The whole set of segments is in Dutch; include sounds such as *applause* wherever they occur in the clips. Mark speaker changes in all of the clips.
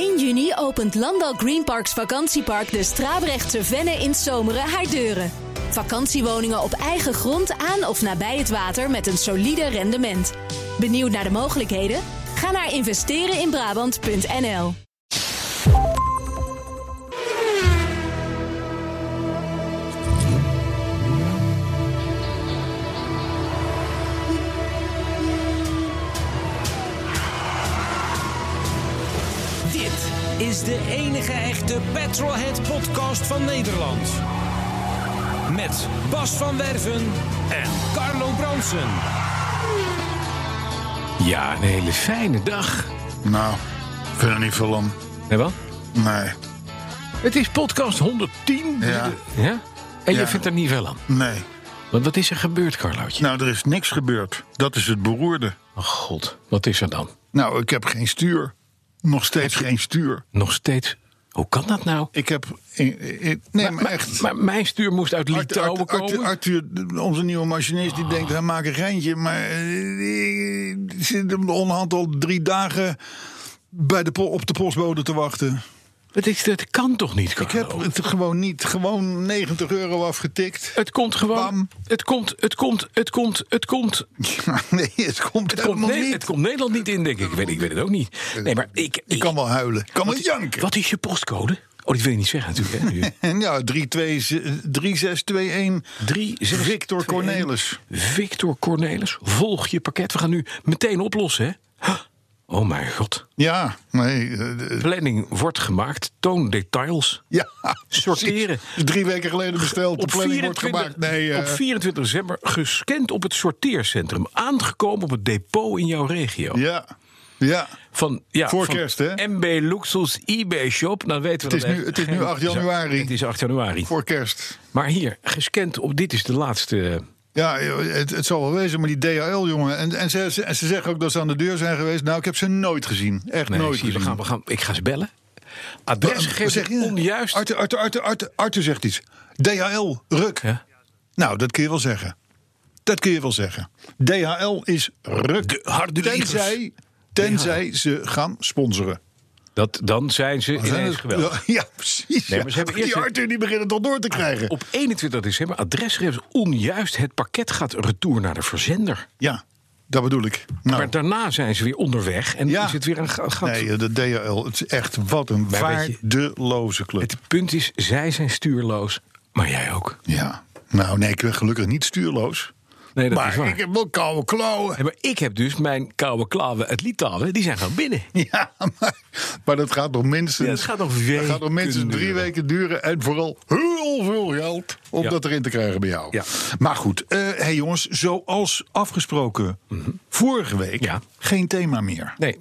Speaker 1: juni opent Landal Greenparks Vakantiepark de Strabrechtse Venne in Zomeren haar deuren. Vakantiewoningen op eigen grond aan of nabij het water met een solide rendement. Benieuwd naar de mogelijkheden? Ga naar investereninbrabant.nl.
Speaker 2: Dit is de enige echte Petrolhead podcast van Nederland. Met Bas van Werven en Carlo Bronsen.
Speaker 3: Ja, een hele fijne dag.
Speaker 4: Nou, ik vind er niet veel om.
Speaker 3: Nee, wel?
Speaker 4: Nee,
Speaker 3: Het is podcast 110.
Speaker 4: Ja.
Speaker 3: Ja? En je
Speaker 4: Ja.
Speaker 3: vindt er niet veel aan.
Speaker 4: nee.
Speaker 3: Want wat is er gebeurd, Carlootje?
Speaker 4: Nou, er is niks gebeurd. Dat is het beroerde.
Speaker 3: Oh god, wat is er dan?
Speaker 4: Nou, ik heb geen stuur. Nog steeds geen stuur.
Speaker 3: Nog steeds. Hoe kan dat nou?
Speaker 4: Ik heb... ik- ik- nee, maar, echt...
Speaker 3: Maar mijn stuur moest uit
Speaker 4: Art- Art-
Speaker 3: Litouwen
Speaker 4: Art- Arthur,
Speaker 3: komen.
Speaker 4: onze nieuwe machinist, die denkt, hij maakt een geintje. Maar eh, eh, zit hem de onderhand al drie dagen bij de po- op de postbode te wachten.
Speaker 3: Dat, is, dat kan toch niet,
Speaker 4: Ik heb
Speaker 3: Carlo?
Speaker 4: het gewoon niet. Gewoon 90 euro afgetikt.
Speaker 3: Het komt gewoon.
Speaker 4: Bam.
Speaker 3: Het komt, het komt, het komt, het komt.
Speaker 4: *laughs* Ja, nee, het komt
Speaker 3: Het komt,
Speaker 4: helemaal
Speaker 3: Nee,
Speaker 4: niet.
Speaker 3: het komt Nederland niet in, denk ik. Ik weet, ik weet het ook niet. Nee, maar ik.
Speaker 4: Ik kan wel huilen. Ik kan wel janken.
Speaker 3: Wat is je postcode? Oh, die wil je niet zeggen natuurlijk. Hè, nu.
Speaker 4: En ja, 3-6-2-1.
Speaker 3: Drie, zes,
Speaker 4: Victor
Speaker 3: twee,
Speaker 4: Cornelis.
Speaker 3: één. Victor Cornelis, volg je pakket. We gaan nu meteen oplossen, hè? Huh. Oh mijn god.
Speaker 4: Ja, nee. eh, eh,
Speaker 3: Planning wordt gemaakt. Toon details.
Speaker 4: ja,
Speaker 3: Sorteren.
Speaker 4: *laughs* precies. Drie weken geleden besteld. de planning wordt gemaakt. Nee, eh,
Speaker 3: op 24 december gescand op het sorteercentrum. Aangekomen op het depot in jouw regio.
Speaker 4: ja, ja.
Speaker 3: Van, ja,
Speaker 4: Voor
Speaker 3: van
Speaker 4: kerst, hè?
Speaker 3: MB Luxus eBay Shop. Dan weten we
Speaker 4: Het
Speaker 3: dat
Speaker 4: is nu-
Speaker 3: echt
Speaker 4: het is nu
Speaker 3: geen
Speaker 4: 8
Speaker 3: zak.
Speaker 4: januari.
Speaker 3: Het is 8 januari.
Speaker 4: Voor kerst.
Speaker 3: Maar hier, gescand op... Dit is de laatste...
Speaker 4: Ja, joh, het, het zal wel wezen, maar die DHL, jongen. En, en, ze, ze, en ze zeggen ook dat ze aan de deur zijn geweest. Nou, ik heb ze nooit gezien. Echt
Speaker 3: Nee,
Speaker 4: nooit
Speaker 3: zie je,
Speaker 4: gezien.
Speaker 3: we gaan, we gaan, ik ga ze bellen. Adres
Speaker 4: Zeg
Speaker 3: gegeven
Speaker 4: je?
Speaker 3: onjuist.
Speaker 4: Arthur, Arthur, Arthur, Arthur, Arthur zegt iets. DHL, ruk.
Speaker 3: Ja.
Speaker 4: Nou, dat kun je wel zeggen. Dat kun je wel zeggen. DHL is ruk.
Speaker 3: De harde
Speaker 4: tenzij tenzij ze gaan sponsoren.
Speaker 3: Dat, dan zijn ze
Speaker 4: Zijn
Speaker 3: ineens
Speaker 4: het-
Speaker 3: geweldig.
Speaker 4: *laughs* Ja, ja, precies.
Speaker 3: Nee, maar ze
Speaker 4: ja.
Speaker 3: hebben
Speaker 4: die
Speaker 3: eerst- Ah,
Speaker 4: Arthur die begint het al door te krijgen.
Speaker 3: Op 21 december, adresgegevens onjuist. Het pakket gaat retour naar de verzender.
Speaker 4: Ja, dat bedoel ik. Nou,
Speaker 3: Maar daarna zijn ze weer onderweg en
Speaker 4: Ja.
Speaker 3: is het weer een ga- gat.
Speaker 4: nee, de DHL, het is echt wat een
Speaker 3: Maar weet je-
Speaker 4: waardeloze club.
Speaker 3: Het punt is, zij zijn stuurloos, maar jij ook.
Speaker 4: Ja, nou nee, ik ben gelukkig niet stuurloos.
Speaker 3: Nee, dat is
Speaker 4: maar
Speaker 3: waar.
Speaker 4: ik heb wel koude klauwen.
Speaker 3: Nee, maar ik heb dus mijn koude klauwen uit Litouwen, die zijn gewoon binnen.
Speaker 4: *laughs* Ja, maar, maar dat gaat nog minstens.
Speaker 3: Ja, het gaat nog
Speaker 4: dat gaat nog
Speaker 3: weken
Speaker 4: minstens drie
Speaker 3: duren.
Speaker 4: weken duren. En vooral heel veel geld om
Speaker 3: Ja.
Speaker 4: dat erin te krijgen bij jou.
Speaker 3: Ja.
Speaker 4: Maar goed, eh hey jongens, zoals afgesproken vorige week,
Speaker 3: Mhm. Ja.
Speaker 4: geen thema meer.
Speaker 3: Nee,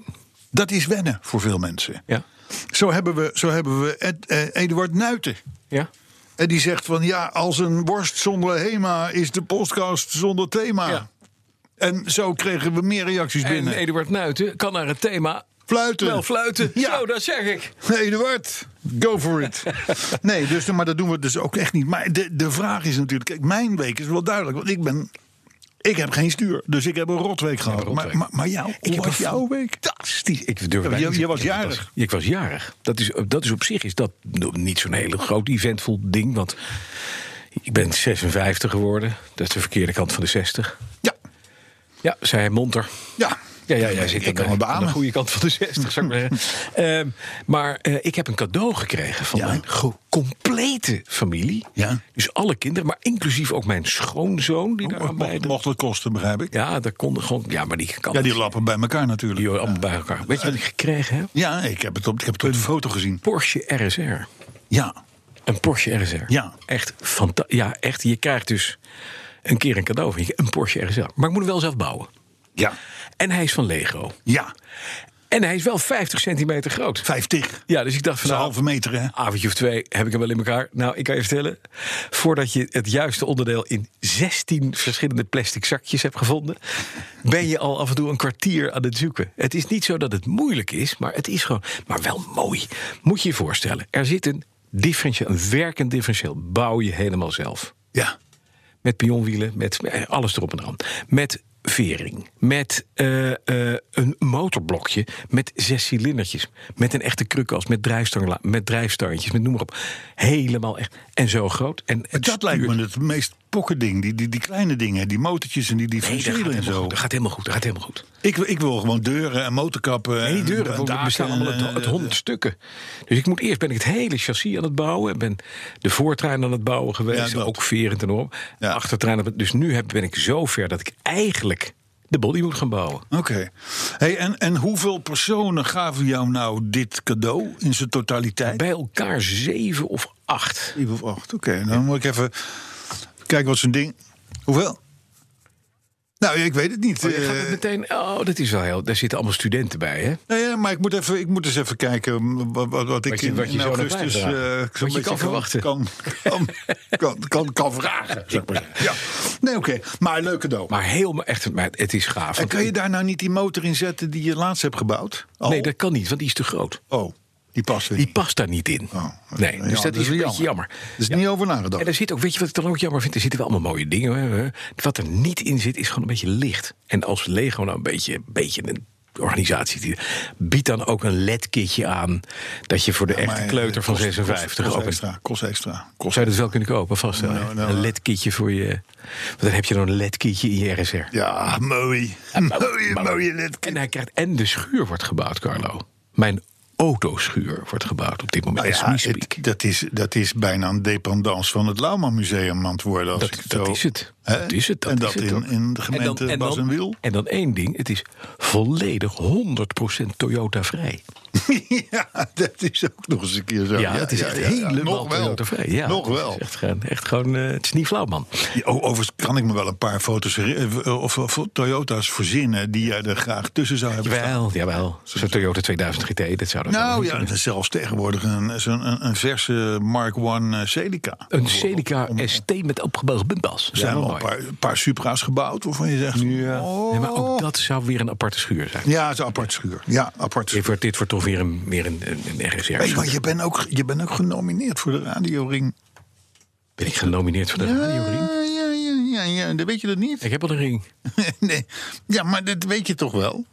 Speaker 4: Dat is wennen voor veel mensen.
Speaker 3: ja,
Speaker 4: Zo hebben we, zo hebben we Ed- eh, Eduard Nuiten.
Speaker 3: ja.
Speaker 4: En die zegt van ja, als een worst zonder Hema is de podcast zonder thema.
Speaker 3: Ja.
Speaker 4: En zo kregen we meer reacties
Speaker 3: En
Speaker 4: binnen.
Speaker 3: Eduard Nuiten kan naar het thema
Speaker 4: eh, Fluiten.
Speaker 3: wel fluiten.
Speaker 4: Ja.
Speaker 3: Zo, dat zeg ik.
Speaker 4: Nee, Eduard, go for
Speaker 3: *laughs*
Speaker 4: it. Nee, dus, maar dat doen we dus ook echt niet. Maar de, de vraag is natuurlijk, kijk, mijn week is wel duidelijk. Want ik ben, ik heb geen stuur, dus ik heb een rotweek gehad.
Speaker 3: rotweek.
Speaker 4: Maar, maar, maar jou,
Speaker 3: Ik
Speaker 4: hoe
Speaker 3: heb
Speaker 4: was
Speaker 3: een
Speaker 4: jouw week?
Speaker 3: Fantastisch. Ik durf
Speaker 4: Ja,
Speaker 3: bijna
Speaker 4: je-
Speaker 3: niet
Speaker 4: je
Speaker 3: te-
Speaker 4: was
Speaker 3: ja, dat
Speaker 4: jarig.
Speaker 3: was- ik was jarig. Dat is, dat is op zich is dat nog niet zo'n hele groot eventvol ding. Want ik ben 56 geworden. Dat is de verkeerde kant van de 60.
Speaker 4: Ja,
Speaker 3: Ja, zei hij monter.
Speaker 4: ja.
Speaker 3: Ja, ja, jij zit
Speaker 4: ik
Speaker 3: aan,
Speaker 4: kan
Speaker 3: de-
Speaker 4: het
Speaker 3: aan de
Speaker 4: beamen.
Speaker 3: goede kant van de 60, zou ik maar zeggen. *laughs* Ehm, maar eh, ik heb een cadeau gekregen van
Speaker 4: Ja.
Speaker 3: mijn ge- complete familie.
Speaker 4: Ja.
Speaker 3: Dus alle kinderen, maar inclusief ook mijn schoonzoon die daaraan
Speaker 4: Mocht,
Speaker 3: bijdraagt.
Speaker 4: mocht het kosten, begrijp ik.
Speaker 3: Ja, daar kon gewoon. oh, Ja, maar die kan.
Speaker 4: Ja, die lappen bij elkaar natuurlijk.
Speaker 3: die horen allemaal bij elkaar. Weet je wat ik gekregen heb?
Speaker 4: Ja, ik heb het op, ik heb het op de foto gezien.
Speaker 3: Porsche RSR.
Speaker 4: Ja,
Speaker 3: Een Porsche RSR.
Speaker 4: Ja.
Speaker 3: Echt fantastisch. Ja, echt. Je krijgt dus een keer een cadeau van je. Een Porsche RSR. Maar ik moet hem wel zelf bouwen.
Speaker 4: ja,
Speaker 3: En hij is van Lego.
Speaker 4: ja.
Speaker 3: En hij is wel 50 centimeter groot.
Speaker 4: 50. Dat
Speaker 3: Ja, dus ik dacht
Speaker 4: is
Speaker 3: van
Speaker 4: een
Speaker 3: nou,
Speaker 4: halve meter, hè?
Speaker 3: avondje of twee heb ik hem wel in elkaar. Nou, ik kan je vertellen. Voordat je het juiste onderdeel in 16 verschillende plastic zakjes hebt gevonden. ben je al af en toe een kwartier aan het zoeken. Het is niet zo dat het moeilijk is, maar het is gewoon. Maar wel mooi. Moet je je voorstellen. Er zit een differentieel, een werkend differentieel. Bouw je helemaal zelf.
Speaker 4: Ja.
Speaker 3: Met pionwielen, met eh, alles erop en eraan. Met afvering. Met eh, eh, een motorblokje. Met zes cilindertjes. Met een echte krukas. Met, drijfstangla- met drijfstangtjes. Met noem maar op. Helemaal echt. En zo groot. En het
Speaker 4: Dat lijkt
Speaker 3: stuurt-
Speaker 4: me het meest pokkending. Die, die, die kleine dingen, die motortjes en die
Speaker 3: Nee, dat gaat,
Speaker 4: differentiëren en
Speaker 3: helemaal
Speaker 4: zo.
Speaker 3: goed, dat gaat helemaal goed. Dat gaat helemaal goed.
Speaker 4: Ik, ik wil gewoon deuren en motorkappen.
Speaker 3: En die
Speaker 4: en-
Speaker 3: deuren
Speaker 4: en
Speaker 3: worden-
Speaker 4: daken eh,
Speaker 3: bestaan
Speaker 4: en-
Speaker 3: allemaal uit,
Speaker 4: en-
Speaker 3: uit honderd stukken. Dus ik moet eerst ben ik het hele chassis aan het bouwen. Ben de voortrein aan het bouwen geweest.
Speaker 4: Ja, dat.
Speaker 3: ook verend en om.
Speaker 4: Ja.
Speaker 3: Achtertrein. aan het- Dus nu heb, ben ik zo ver dat ik eigenlijk de body moet gaan bouwen.
Speaker 4: Oké. Hey, en, en hoeveel personen gaven jou nou dit cadeau in zijn totaliteit?
Speaker 3: Bij elkaar zeven of acht.
Speaker 4: Zeven of acht. Oké, dan moet ik even kijken wat zo'n ding. Hoeveel? Nou, ja, ik weet het niet.
Speaker 3: Oh, Je gaat het
Speaker 4: Eh,
Speaker 3: meteen, oh, dat is wel heel. Daar zitten allemaal studenten bij, hè?
Speaker 4: nee, ja, maar ik moet, even, ik moet eens even kijken wat, wat, wat ik
Speaker 3: je-
Speaker 4: in,
Speaker 3: wat je
Speaker 4: in
Speaker 3: zo naar
Speaker 4: augustus
Speaker 3: buiten
Speaker 4: eh,
Speaker 3: draagt. Wat
Speaker 4: zo'n
Speaker 3: je
Speaker 4: beetje
Speaker 3: kan verwachten.
Speaker 4: Kan, kan, kan, kan, kan vragen, zou ik maar zeggen. Ja. Nee, oké. Maar leuk cadeau.
Speaker 3: Maar heel, maar echt, maar het is gaaf.
Speaker 4: en
Speaker 3: want-
Speaker 4: kan je daar nou niet die motor in zetten die je laatst hebt gebouwd? Al?
Speaker 3: Nee, dat kan niet, want die is te groot.
Speaker 4: Oh, die past er
Speaker 3: Die
Speaker 4: niet.
Speaker 3: past daar niet in.
Speaker 4: Oh,
Speaker 3: nee,
Speaker 4: ja,
Speaker 3: dus dat, is een
Speaker 4: wel Dus-
Speaker 3: beetje jammer.
Speaker 4: Er is
Speaker 3: Ja.
Speaker 4: niet over nagedacht.
Speaker 3: En er zit ook, weet je wat ik dan ook jammer vind? Er zitten wel allemaal mooie dingen. Hè? Wat er niet in zit, is gewoon een beetje licht. En als Lego nou een beetje, een beetje een organisatie die- biedt dan ook een LED-kitje aan. Dat je voor de echte
Speaker 4: Maar, eh,
Speaker 3: kleuter van
Speaker 4: kost- kost-
Speaker 3: 56
Speaker 4: kost,
Speaker 3: ook een-
Speaker 4: extra. Kost extra. Kost.
Speaker 3: Zou je dat wel kunnen kopen, vast? hè?
Speaker 4: Nou, nou,
Speaker 3: een
Speaker 4: eh.
Speaker 3: LED-kitje voor je. Want dan heb je dan een LED-kitje in je RSR.
Speaker 4: Ja, mooi. Mooie, mooie lid.
Speaker 3: En hij krijgt. En de schuur wordt gebouwd, Carlo. Mijn autoschuur wordt gebouwd op dit moment.
Speaker 4: Nou
Speaker 3: as
Speaker 4: ja,
Speaker 3: we
Speaker 4: het-
Speaker 3: speak.
Speaker 4: dat, is, dat is bijna een dependance van het Lauwman Museum aan het worden. Als
Speaker 3: Dat-
Speaker 4: ik het
Speaker 3: dat
Speaker 4: zo,
Speaker 3: is het.
Speaker 4: Hè?
Speaker 3: Dat is het, dat
Speaker 4: en
Speaker 3: is
Speaker 4: dat
Speaker 3: het ook.
Speaker 4: in, in de gemeente
Speaker 3: en
Speaker 4: Bas en Wiel. *laughs*
Speaker 3: en dan één ding, het is volledig 100% Toyota-vrij.
Speaker 4: ja, dat is ook nog eens een keer zo.
Speaker 3: Ja, het is echt
Speaker 4: ja, ja.
Speaker 3: helemaal
Speaker 4: Nog wel.
Speaker 3: Toyota-vrij. Ja,
Speaker 4: Nog
Speaker 3: het is
Speaker 4: wel.
Speaker 3: Echt, gewoon- echt gewoon, eh, het is niet flauw, man.
Speaker 4: Ja, o- Overigens kan ik me wel een paar foto's heri- eh, of, of Toyota's verzinnen die jij er graag tussen zou hebben. staan.
Speaker 3: Jawel, jawel. Zo'n Toyota 2000 GT, dat zou dat wel
Speaker 4: Nou
Speaker 3: moeten
Speaker 4: ja,
Speaker 3: kunnen.
Speaker 4: dat is zelfs tegenwoordig een, zo'n- een, een verse Mark One eh, Celica.
Speaker 3: Een Celica ST met opgebogen buntbas.
Speaker 4: Er zijn wel een paar, een paar Supra's gebouwd waarvan je zegt... oh.
Speaker 3: Nee, maar ook dat zou weer een aparte schuur zijn.
Speaker 4: Ja, het is een apart schuur. Ja, apart schuur.
Speaker 3: Dit wordt, dit wordt toch weer een, weer een, een, een RSR.
Speaker 4: Weet je, wat, je, bent ook, je bent ook genomineerd voor de radioring.
Speaker 3: Ben ik genomineerd voor de radio ring?
Speaker 4: Ja, ja, ja, ja, ja. Dat weet je dat niet?
Speaker 3: Ik heb al een ring.
Speaker 4: *laughs* nee. Ja, maar dat weet je toch wel?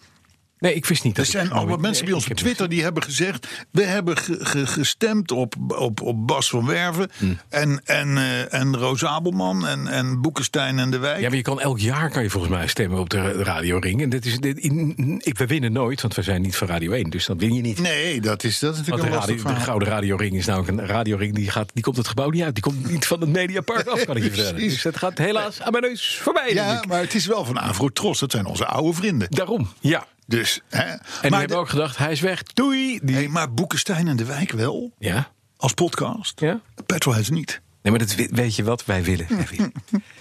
Speaker 3: Nee, ik wist niet.
Speaker 4: Er
Speaker 3: dat ik
Speaker 4: zijn allemaal
Speaker 3: genomineerd-
Speaker 4: mensen bij
Speaker 3: Nee,
Speaker 4: ons
Speaker 3: ik
Speaker 4: op
Speaker 3: heb
Speaker 4: Twitter die hebben gezegd... we hebben ge- ge- gestemd op, op, op Bas van Werven
Speaker 3: Hm.
Speaker 4: en, en, eh, en Roos Abelman en, en Boekenstein en De Wijk.
Speaker 3: Ja, maar je kan elk jaar kan je volgens mij stemmen op de Radio Ring. En dit is, dit, in- ik, we winnen nooit, want we zijn niet van Radio 1. Dus dat win je niet.
Speaker 4: Nee, dat is, dat
Speaker 3: Want
Speaker 4: is natuurlijk
Speaker 3: de,
Speaker 4: een lastig
Speaker 3: radio, de
Speaker 4: verhaal.
Speaker 3: Gouden Radio Ring is namelijk een radioring die, gaat, die komt het gebouw niet uit. Die komt niet van het Mediapark af, kan ik
Speaker 4: *laughs*
Speaker 3: je vertellen.
Speaker 4: Precies.
Speaker 3: Dus dat gaat helaas aan mijn neus voorbij. denk
Speaker 4: Ja,
Speaker 3: ik.
Speaker 4: maar het is wel van Avrotros. Dat zijn onze oude vrienden.
Speaker 3: Daarom, ja.
Speaker 4: Dus, hè.
Speaker 3: En die
Speaker 4: maar,
Speaker 3: hebben
Speaker 4: de-
Speaker 3: ook gedacht, hij is weg, doei. Die...
Speaker 4: hey, maar Boekenstein en de Wijk wel,
Speaker 3: Ja,
Speaker 4: als podcast.
Speaker 3: ja.
Speaker 4: Petrolheads niet.
Speaker 3: Nee, maar dat we- weet je wat wij willen? Wij *laughs* willen,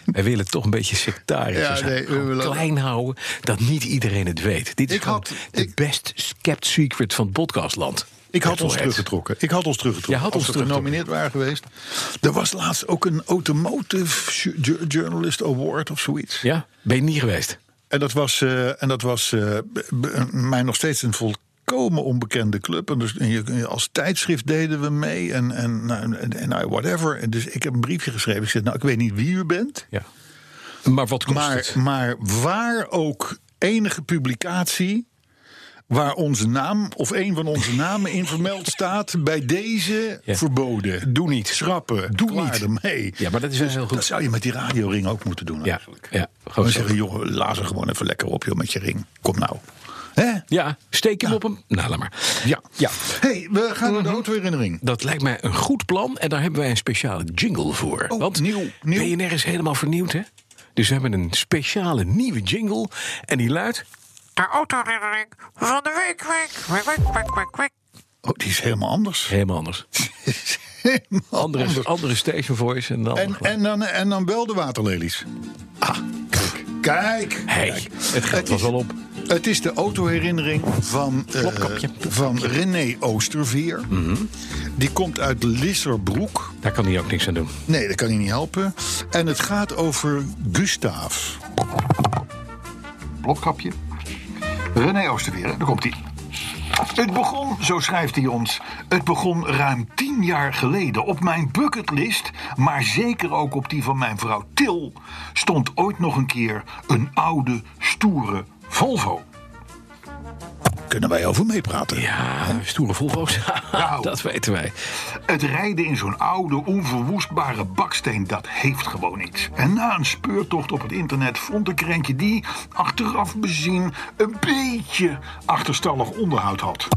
Speaker 3: wij willen toch een beetje sectarisch
Speaker 4: Ja,
Speaker 3: zijn.
Speaker 4: nee, we
Speaker 3: Gewoon
Speaker 4: willen-
Speaker 3: klein houden, dat niet iedereen het weet. Dit is
Speaker 4: Ik
Speaker 3: gewoon
Speaker 4: had-
Speaker 3: de
Speaker 4: ik-
Speaker 3: best kept secret van het podcastland.
Speaker 4: Ik had ons
Speaker 3: Petrolheads.
Speaker 4: teruggetrokken. Ik had ons teruggetrokken.
Speaker 3: Jij had
Speaker 4: Als
Speaker 3: ons
Speaker 4: we
Speaker 3: teruggetrokken.
Speaker 4: genomineerd waren geweest. Er was laatst ook een Automotive Ju- Ju- Journalist Award of zoiets.
Speaker 3: Ja, ben je niet geweest?
Speaker 4: En dat was, eh, en dat was eh, b- b- mij nog steeds een volkomen onbekende club. En dus en je- en je- als tijdschrift deden we mee en, en, nou, en, en nou, whatever. En dus ik heb een briefje geschreven. Ik zeg, nou, ik weet niet wie u bent.
Speaker 3: Ja. Maar wat kost
Speaker 4: Maar,
Speaker 3: het?
Speaker 4: maar waar ook enige publicatie waar onze naam of een van onze namen in vermeld staat, bij deze
Speaker 3: Ja.
Speaker 4: verboden. Doe niet. Schrappen. Doe
Speaker 3: niet.
Speaker 4: ermee.
Speaker 3: Ja, maar dat is wel heel
Speaker 4: Dat
Speaker 3: goed.
Speaker 4: zou je met die radioring ook moeten doen
Speaker 3: Ja,
Speaker 4: eigenlijk.
Speaker 3: ja, gewoon
Speaker 4: Gewoon
Speaker 3: zo.
Speaker 4: zeggen, joh, laat er gewoon even lekker op joh, met je ring. Kom nou. Hè?
Speaker 3: Ja, steek hem op hem. Nou, laat maar.
Speaker 4: Ja.
Speaker 3: Ja.
Speaker 4: hey, we gaan naar de autoherinnering.
Speaker 3: Dat lijkt mij een goed plan en daar hebben wij een speciale jingle voor.
Speaker 4: Oh,
Speaker 3: Want
Speaker 4: nieuw, nieuw.
Speaker 3: BNR is helemaal vernieuwd, hè? Dus we hebben een speciale nieuwe jingle en die luidt...
Speaker 5: De autoherinnering van de week, week, week, week, week, week.
Speaker 4: Oh, die is helemaal *laughs* anders.
Speaker 3: Helemaal anders.
Speaker 4: Helemaal
Speaker 3: Andere, andere station voice en dan...
Speaker 4: En, en, dan, en dan wel de waterlelies. Ah, kijk. Kijk.
Speaker 3: hey,
Speaker 4: kijk.
Speaker 3: het geld was
Speaker 4: is-
Speaker 3: al op.
Speaker 4: Het is de autoherinnering van, eh,
Speaker 3: Klopkapje.
Speaker 4: van René Oosterveer. Die komt uit Lisserbroek.
Speaker 3: Daar kan hij ook niks aan doen.
Speaker 4: Nee, dat kan hij niet helpen. En het gaat over Gustaaf. Klopkapje. René Oosterveer, daar komt hij. Het begon, zo schrijft hij ons, het begon ruim tien jaar geleden. Op mijn bucketlist, maar zeker ook op die van mijn vrouw Til, stond ooit nog een keer een oude, stoere Volvo. Kunnen wij over meepraten?
Speaker 3: Ja, stoere Volvo's.
Speaker 4: Nou.
Speaker 3: *laughs* dat weten wij.
Speaker 4: Het rijden in zo'n oude, onverwoestbare baksteen, dat heeft gewoon iets. En na een speurtocht op het internet vond ik er eentje die, achteraf bezien, een beetje achterstallig onderhoud had.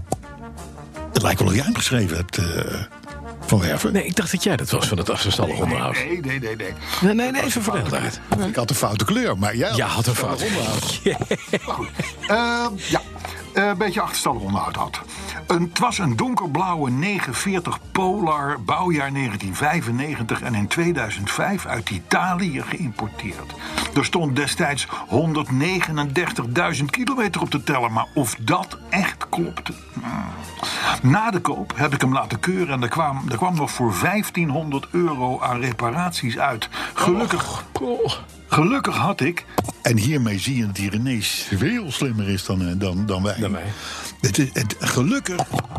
Speaker 4: Het lijkt wel of jij hem geschreven hebt, eh, Van Werven.
Speaker 3: Nee, ik dacht dat jij dat was van het afstandstallig onderhoud.
Speaker 4: Nee, nee, nee, nee.
Speaker 3: Nee, nee, nee, even vertel het uit.
Speaker 4: Ik had een foute kleur, maar jij
Speaker 3: Ja, had een fout.
Speaker 4: Maar
Speaker 3: *laughs*
Speaker 4: goed. Eh, ja, Eh, een beetje achterstallig onderhoud had. Een, het was een donkerblauwe 940 Polar, bouwjaar 1995 en in 2005 uit Italië geïmporteerd. Er stond destijds 139.000 kilometer op te tellen, maar of dat echt klopte. Hmm. Na de koop heb ik hem laten keuren en er kwam, er kwam nog voor 1500 euro aan reparaties uit. Gelukkig
Speaker 3: Oh,
Speaker 4: Gelukkig had ik. En hiermee zie je dat die René veel slimmer is dan, eh, dan, dan wij.
Speaker 3: Dan wij.
Speaker 4: Het, is- het, gelukkig,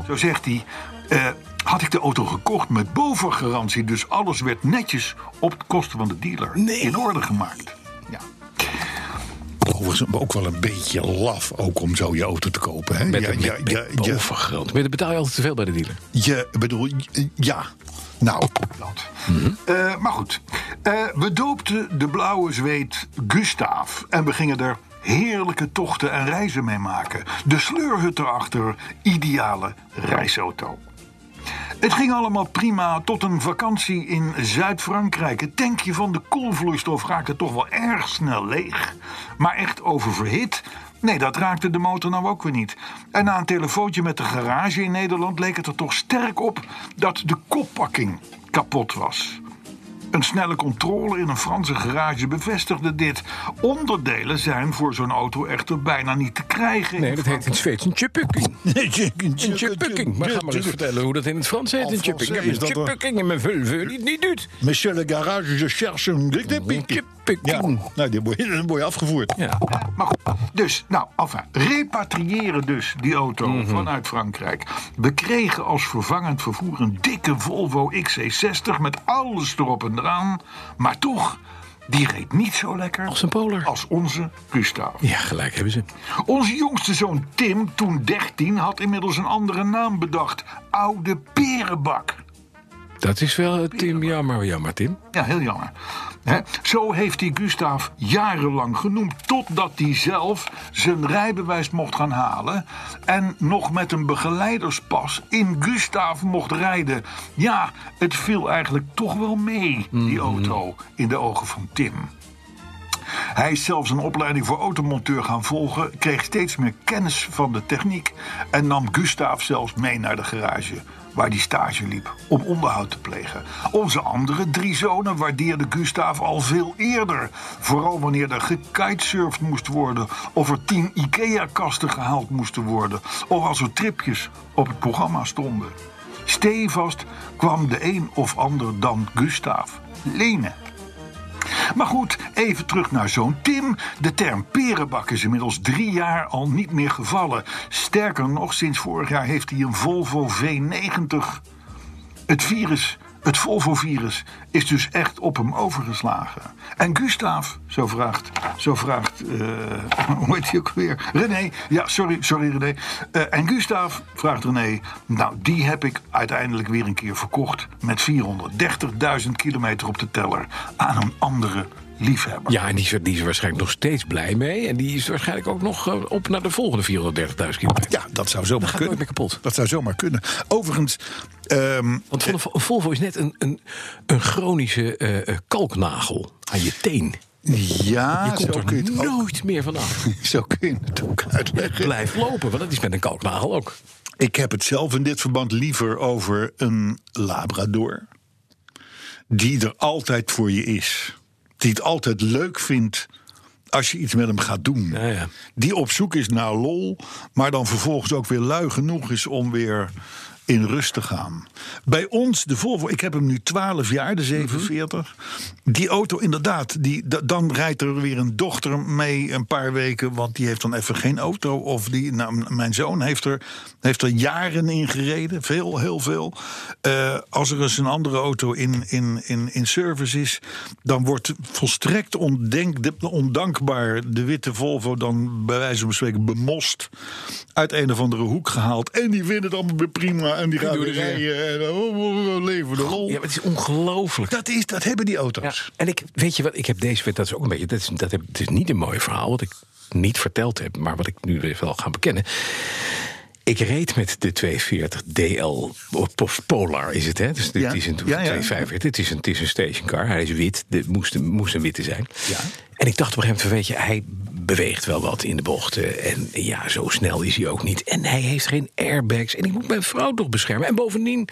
Speaker 4: zo zegt hij, eh, had ik de auto gekocht met bovengarantie. Dus alles werd netjes op de kosten van de dealer in orde gemaakt. Ja. Overigens ook wel een beetje laf ook om zo je auto te kopen. Hè?
Speaker 3: met een ja, bovengrond. Maar dat betaal je altijd te veel bij de dealer.
Speaker 4: Je, bedoel, j- ja. Nou, dat. Eh, maar goed. Eh, we doopten de blauwe zweet Gustaaf. En we gingen er heerlijke tochten en reizen mee maken. De sleurhut erachter, ideale reisauto. Het ging allemaal prima tot een vakantie in Zuid-Frankrijk. Het tankje van de koelvloeistof raakte toch wel erg snel leeg. Maar echt oververhit? Nee, dat raakte de motor nou ook weer niet. En na een telefoontje met de garage in Nederland leek het er toch sterk op dat de koppakking kapot was. Een snelle controle in een Franse garage bevestigde dit. Onderdelen zijn voor zo'n auto echter bijna niet te krijgen. in
Speaker 3: Nee, dat heet in het Zweeds een chipukking. Een chipukking. Maar ga maar eens vertellen hoe dat in het Frans heet,
Speaker 4: En
Speaker 3: een chipukking. Ik
Speaker 6: eh,
Speaker 4: Frans is
Speaker 3: heb een
Speaker 4: dat wel-
Speaker 3: chipukking in mijn vulvul die het niet doet.
Speaker 4: Monsieur le garage, je cherche een
Speaker 3: Een
Speaker 4: glitterpikje.
Speaker 3: glitterpikje.
Speaker 4: nou, die word, je, dan word je afgevoerd.
Speaker 3: Ja.
Speaker 4: Maar goed, dus, nou, enfin, repatriëren dus die auto vanuit Frankrijk. We kregen als vervangend vervoer een dikke Volvo XC60 met alles erop en eraan. Maar toch, die reed niet zo lekker
Speaker 3: Als een
Speaker 6: eh,
Speaker 3: polar.
Speaker 4: als onze Gustav.
Speaker 3: Ja, gelijk hebben ze.
Speaker 4: Onze jongste zoon Tim, toen 13, had inmiddels een andere naam bedacht. Oude Perenbak.
Speaker 3: Dat is wel, eh, Tim, jammer, jammer, Tim.
Speaker 4: Ja, heel jammer. Hè? Zo heeft hij Gustav jarenlang genoemd. Totdat hij zelf zijn rijbewijs mocht gaan halen. En nog met een begeleiderspas in Gustav mocht rijden. Ja, het viel eigenlijk toch wel mee, die auto, in de ogen van Tim. Hij is zelfs een opleiding voor automonteur gaan volgen, kreeg steeds meer kennis van de techniek en nam Gustav zelfs mee naar de garage, waar hij stage liep om onderhoud te plegen. Onze andere drie zonen waardeerden Gustav al veel eerder, vooral wanneer er gekitesurfd moest worden, of er tien IKEA-kasten gehaald moesten worden, of als er tripjes op het programma stonden. Stevast kwam de een of ander dan Gustav lenen. Maar goed, even terug naar zo'n Tim. De term perenbak is inmiddels drie jaar al niet meer gevallen. Sterker nog, sinds vorig jaar heeft hij een Volvo V90. Het virus, het Volvo-virus, is dus echt op hem overgeslagen. En Gustav, zo vraagt, zo vraagt eh, *laughs* hoe heet hij ook weer? René, ja, sorry, sorry René. Eh, en Gustav, vraagt René, nou die heb ik uiteindelijk weer een keer verkocht... met 430.000 kilometer op de teller aan een andere liefhebber.
Speaker 3: Ja, en die is, die is er waarschijnlijk nog steeds blij mee. En die is waarschijnlijk ook nog eh, op naar de volgende 430.000 kilometer.
Speaker 6: Ja, dat zou zomaar
Speaker 3: gaat
Speaker 6: kunnen.
Speaker 3: nooit meer kapot.
Speaker 6: Dat zou zomaar kunnen. Overigens, ehm,
Speaker 3: Want van een Volvo is net een, een, een chronische eh, eh, kalknagel aan je teen.
Speaker 6: ja,
Speaker 3: Je komt
Speaker 6: Ah, zo kun je
Speaker 3: er
Speaker 6: het ook,
Speaker 3: nooit meer vanaf.
Speaker 6: *laughs* zo kun je het ook uitleggen.
Speaker 3: Blijf lopen, want dat is met een kalknagel ook.
Speaker 6: Ik heb het zelf in dit verband liever over een labrador. Die er altijd voor je is. Die het altijd leuk vindt als je iets met hem gaat doen.
Speaker 3: Ja, ja.
Speaker 6: Die op zoek is naar lol, maar dan vervolgens ook weer lui genoeg is om weer in rust te gaan. Bij ons, de Volvo, ik heb hem nu 12 jaar,
Speaker 3: Mhm.
Speaker 6: de 47. Die auto, inderdaad, die, da- dan rijdt er weer een dochter mee een paar weken. Want die heeft dan even geen auto. Of die, nou, m- mijn zoon heeft er, heeft er jaren in gereden. Veel, heel veel. Eh, als er eens een andere auto in, in, in, in service is. dan wordt volstrekt ondenk, de- ondankbaar de witte Volvo dan bij wijze van spreken bemost. uit een of andere hoek gehaald. En die vinden het allemaal weer prima. En die gaan
Speaker 3: doen
Speaker 6: weer
Speaker 3: het weer.
Speaker 6: rijden. En oh, oh, oh, leven de lol.
Speaker 3: Ja, maar het is ongelooflijk.
Speaker 6: Dat, is, dat hebben die
Speaker 3: Ja,
Speaker 6: auto's.
Speaker 3: en ik, weet je wat, ik heb deze week, dat is ook een beetje, dat is, dat heb, het is niet een mooi verhaal wat ik niet verteld heb, maar wat ik nu weer wel ga bekennen. Ik reed met de 240 DL, of Polar is het, hè? Dus dit
Speaker 6: Ja.
Speaker 3: is een
Speaker 6: Ja, ja.
Speaker 3: 245, het is een, het is een stationcar, hij is wit, dit moest, een- moest een witte zijn.
Speaker 6: Ja.
Speaker 3: En ik dacht op een gegeven moment, weet je, hij beweegt wel wat in de bochten. En ja, zo snel is hij ook niet. En hij heeft geen airbags. En ik moet mijn vrouw toch beschermen. En bovendien,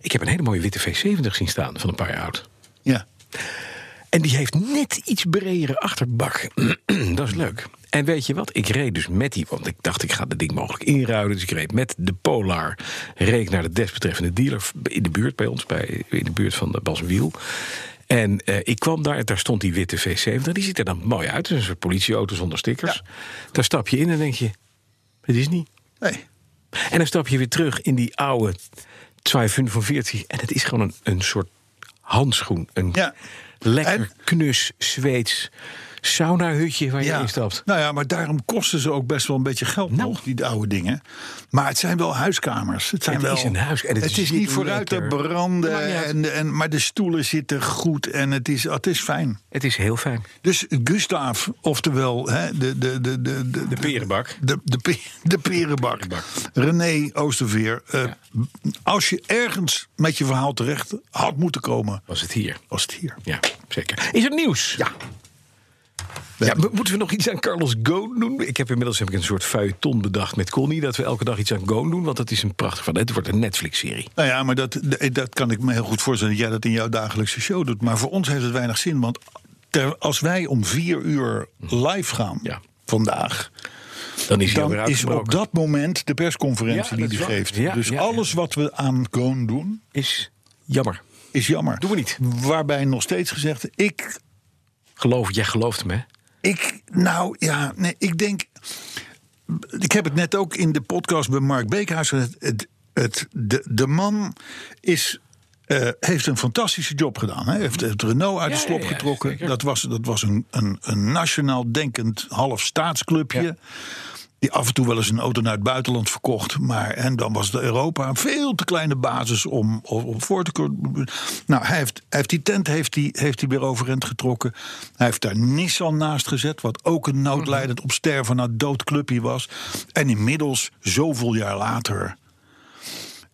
Speaker 3: ik heb een hele mooie witte V70 zien staan van een paar jaar oud.
Speaker 6: Ja.
Speaker 3: En die heeft net iets bredere achterbak. *clears throat* dat is leuk. En weet je wat? Ik reed dus met die, want ik dacht ik ga dat ding mogelijk inruilen. Dus ik reed met de Polar, reed ik naar de desbetreffende dealer in de buurt bij ons, bij, in de buurt van de Bas en Wiel. En eh, ik kwam daar, en daar stond die witte V70. Die ziet er dan mooi uit. Het is een soort politieauto zonder stickers. Daar stap je in en denk je, het is niet.
Speaker 6: Nee.
Speaker 3: En dan stap je weer terug in die oude 245. En het is gewoon een, een soort handschoen. Een
Speaker 6: Ja.
Speaker 3: lekker
Speaker 6: En-
Speaker 3: knus Zweeds saunahutje waar je
Speaker 6: Ja.
Speaker 3: instapt. Nou.
Speaker 6: Nou ja, maar daarom kosten ze ook best wel een beetje geld nog, die oude dingen. Maar het zijn wel huiskamers. Het, zijn
Speaker 3: Het
Speaker 6: wel,
Speaker 3: is een huis- en het
Speaker 6: het, is
Speaker 3: zit
Speaker 6: niet vooruit te
Speaker 3: lekker. Maakt niet
Speaker 6: branden,
Speaker 3: uit.
Speaker 6: en, en, maar de stoelen zitten goed en het is, het is fijn.
Speaker 3: Het is heel fijn.
Speaker 6: Dus Gustav, oftewel hè, de, de, de, de, de, de
Speaker 3: perenbak.
Speaker 6: De, de, pe- de perenbak. René Oosterveer. eh, Als je ergens met je verhaal terecht had moeten komen,
Speaker 3: Was het hier?
Speaker 6: was het hier.
Speaker 3: Ja, zeker. Is er nieuws? Ja. Ja, mo- moeten we nog iets aan Carlos Ghosn doen? Ik heb inmiddels heb ik een soort feuilleton bedacht met Connie... dat we elke dag iets aan Ghosn doen, want dat is een prachtig verhaal. Het wordt een Netflix-serie.
Speaker 6: Nou ja, maar dat, dat kan ik me heel goed voorstellen dat jij dat in jouw dagelijkse show doet. Maar voor ons heeft het weinig zin, want ter- als wij om vier uur live gaan
Speaker 3: Ja.
Speaker 6: vandaag,
Speaker 3: Dan is hij
Speaker 6: dan
Speaker 3: weer
Speaker 6: is
Speaker 3: uitgebroken.
Speaker 6: op dat moment de
Speaker 3: Ja,
Speaker 6: persconferentie
Speaker 3: dat
Speaker 6: die
Speaker 3: is
Speaker 6: hij
Speaker 3: waar.
Speaker 6: geeft.
Speaker 3: Ja,
Speaker 6: dus
Speaker 3: ja, ja.
Speaker 6: alles wat we aan Koon doen,
Speaker 3: is jammer.
Speaker 6: is jammer.
Speaker 3: Doen we niet.
Speaker 6: Waarbij nog steeds gezegd, ik,
Speaker 3: Geloof, jij gelooft me, hè?
Speaker 6: ik, nou ja, nee, ik denk, ik heb het net ook in de podcast bij Mark Beekhuis gezegd. Het, het, de, de man is, eh, heeft een fantastische job gedaan. Hè? Heeft, heeft Renault uit de
Speaker 3: Ja,
Speaker 6: slop
Speaker 3: ja, ja,
Speaker 6: getrokken.
Speaker 3: zeker.
Speaker 6: dat was, dat was een, een, een nationaal denkend half staatsclubje. Die af en toe wel eens een auto naar het buitenland verkocht. Maar en dan was de Europa een veel te kleine basis om, om, om voor te kunnen. Nou, hij heeft, hij heeft die tent heeft hij, heeft hij weer overeind getrokken. Hij heeft daar Nissan naast gezet. Wat ook een noodlijdend op sterven na dood clubje was. En inmiddels, zoveel jaar later.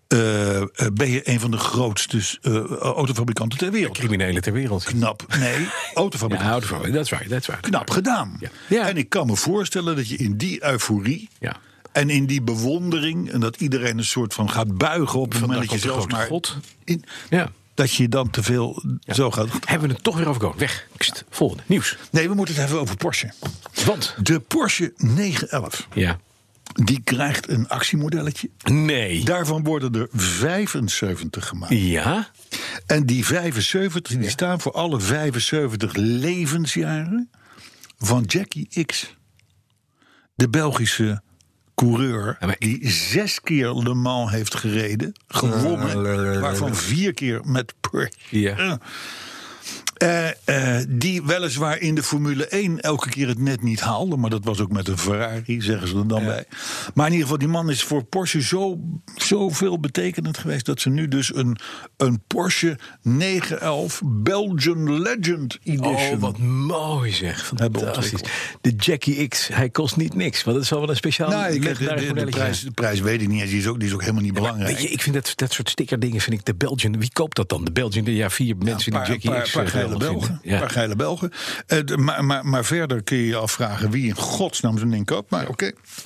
Speaker 6: eh, eh, ben je een van de grootste eh, autofabrikanten ter wereld?
Speaker 3: Criminelen ter wereld.
Speaker 6: Knap. Nee,
Speaker 3: Ja,
Speaker 6: autofabrikant.
Speaker 3: houd ervan. Dat is waar, dat is waar.
Speaker 6: knap gedaan.
Speaker 3: Ja. Ja.
Speaker 6: En ik kan me voorstellen dat je in die euforie.
Speaker 3: Ja.
Speaker 6: En in die bewondering, en dat iedereen een soort van gaat buigen op het
Speaker 3: Vandaar
Speaker 6: moment dat je
Speaker 3: komt de
Speaker 6: zelf maar.
Speaker 3: grote God.
Speaker 6: in-
Speaker 3: Ja.
Speaker 6: dat je dan te veel zo gaat.
Speaker 3: Hebben we het toch weer over Go. Weg. Kst. Volgende. Nieuws.
Speaker 6: Nee, we moeten het hebben over Porsche.
Speaker 3: Want.
Speaker 6: De Porsche 911,
Speaker 3: Ja.
Speaker 6: die krijgt een actiemodelletje.
Speaker 3: Nee.
Speaker 6: Daarvan worden er 75 gemaakt.
Speaker 3: ja.
Speaker 6: En die 75, die staan voor alle 75 levensjaren van Jackie X. De Belgische coureur
Speaker 3: Ja, maar ik-
Speaker 6: die zes keer Le Mans heeft gereden, gewonnen, waarvan vier keer met Porsche.
Speaker 3: Ja.
Speaker 6: Eh, eh, die weliswaar in de Formule 1 elke keer het net niet haalde. Maar dat was ook met een Ferrari, zeggen ze er dan bij. Maar in ieder geval, die man is voor Porsche zo, zo veel betekenend geweest... dat ze nu dus een, een Porsche 911 Belgian Legend Edition...
Speaker 3: Oh, wat mooi zeg.
Speaker 6: Dus Hebben we
Speaker 3: Fantastisch. De Jackie X, hij kost niet niks. Want dat zal wel een speciaal
Speaker 6: nou, ik, de,
Speaker 3: legendarisch
Speaker 6: de- de
Speaker 3: modelletje
Speaker 6: prijs,
Speaker 3: zijn.
Speaker 6: de prijs weet ik niet. Die is ook, die is ook helemaal niet belangrijk.
Speaker 3: Weet je, ik vind dat, dat soort stickerdingen, vind ik de Belgian. Wie koopt dat dan? De Belgian, de- ja, vier mensen
Speaker 6: Een paar,
Speaker 3: die Jackie
Speaker 6: paar,
Speaker 3: X
Speaker 6: paar
Speaker 3: eh,
Speaker 6: geile
Speaker 3: geweldig
Speaker 6: Belgen.
Speaker 3: vinden. Ja.
Speaker 6: Paar geile Belgen. Eh, d- maar, maar, maar verder kun je je afvragen wie in godsnaam zo'n ding koopt. Maar oké. Voor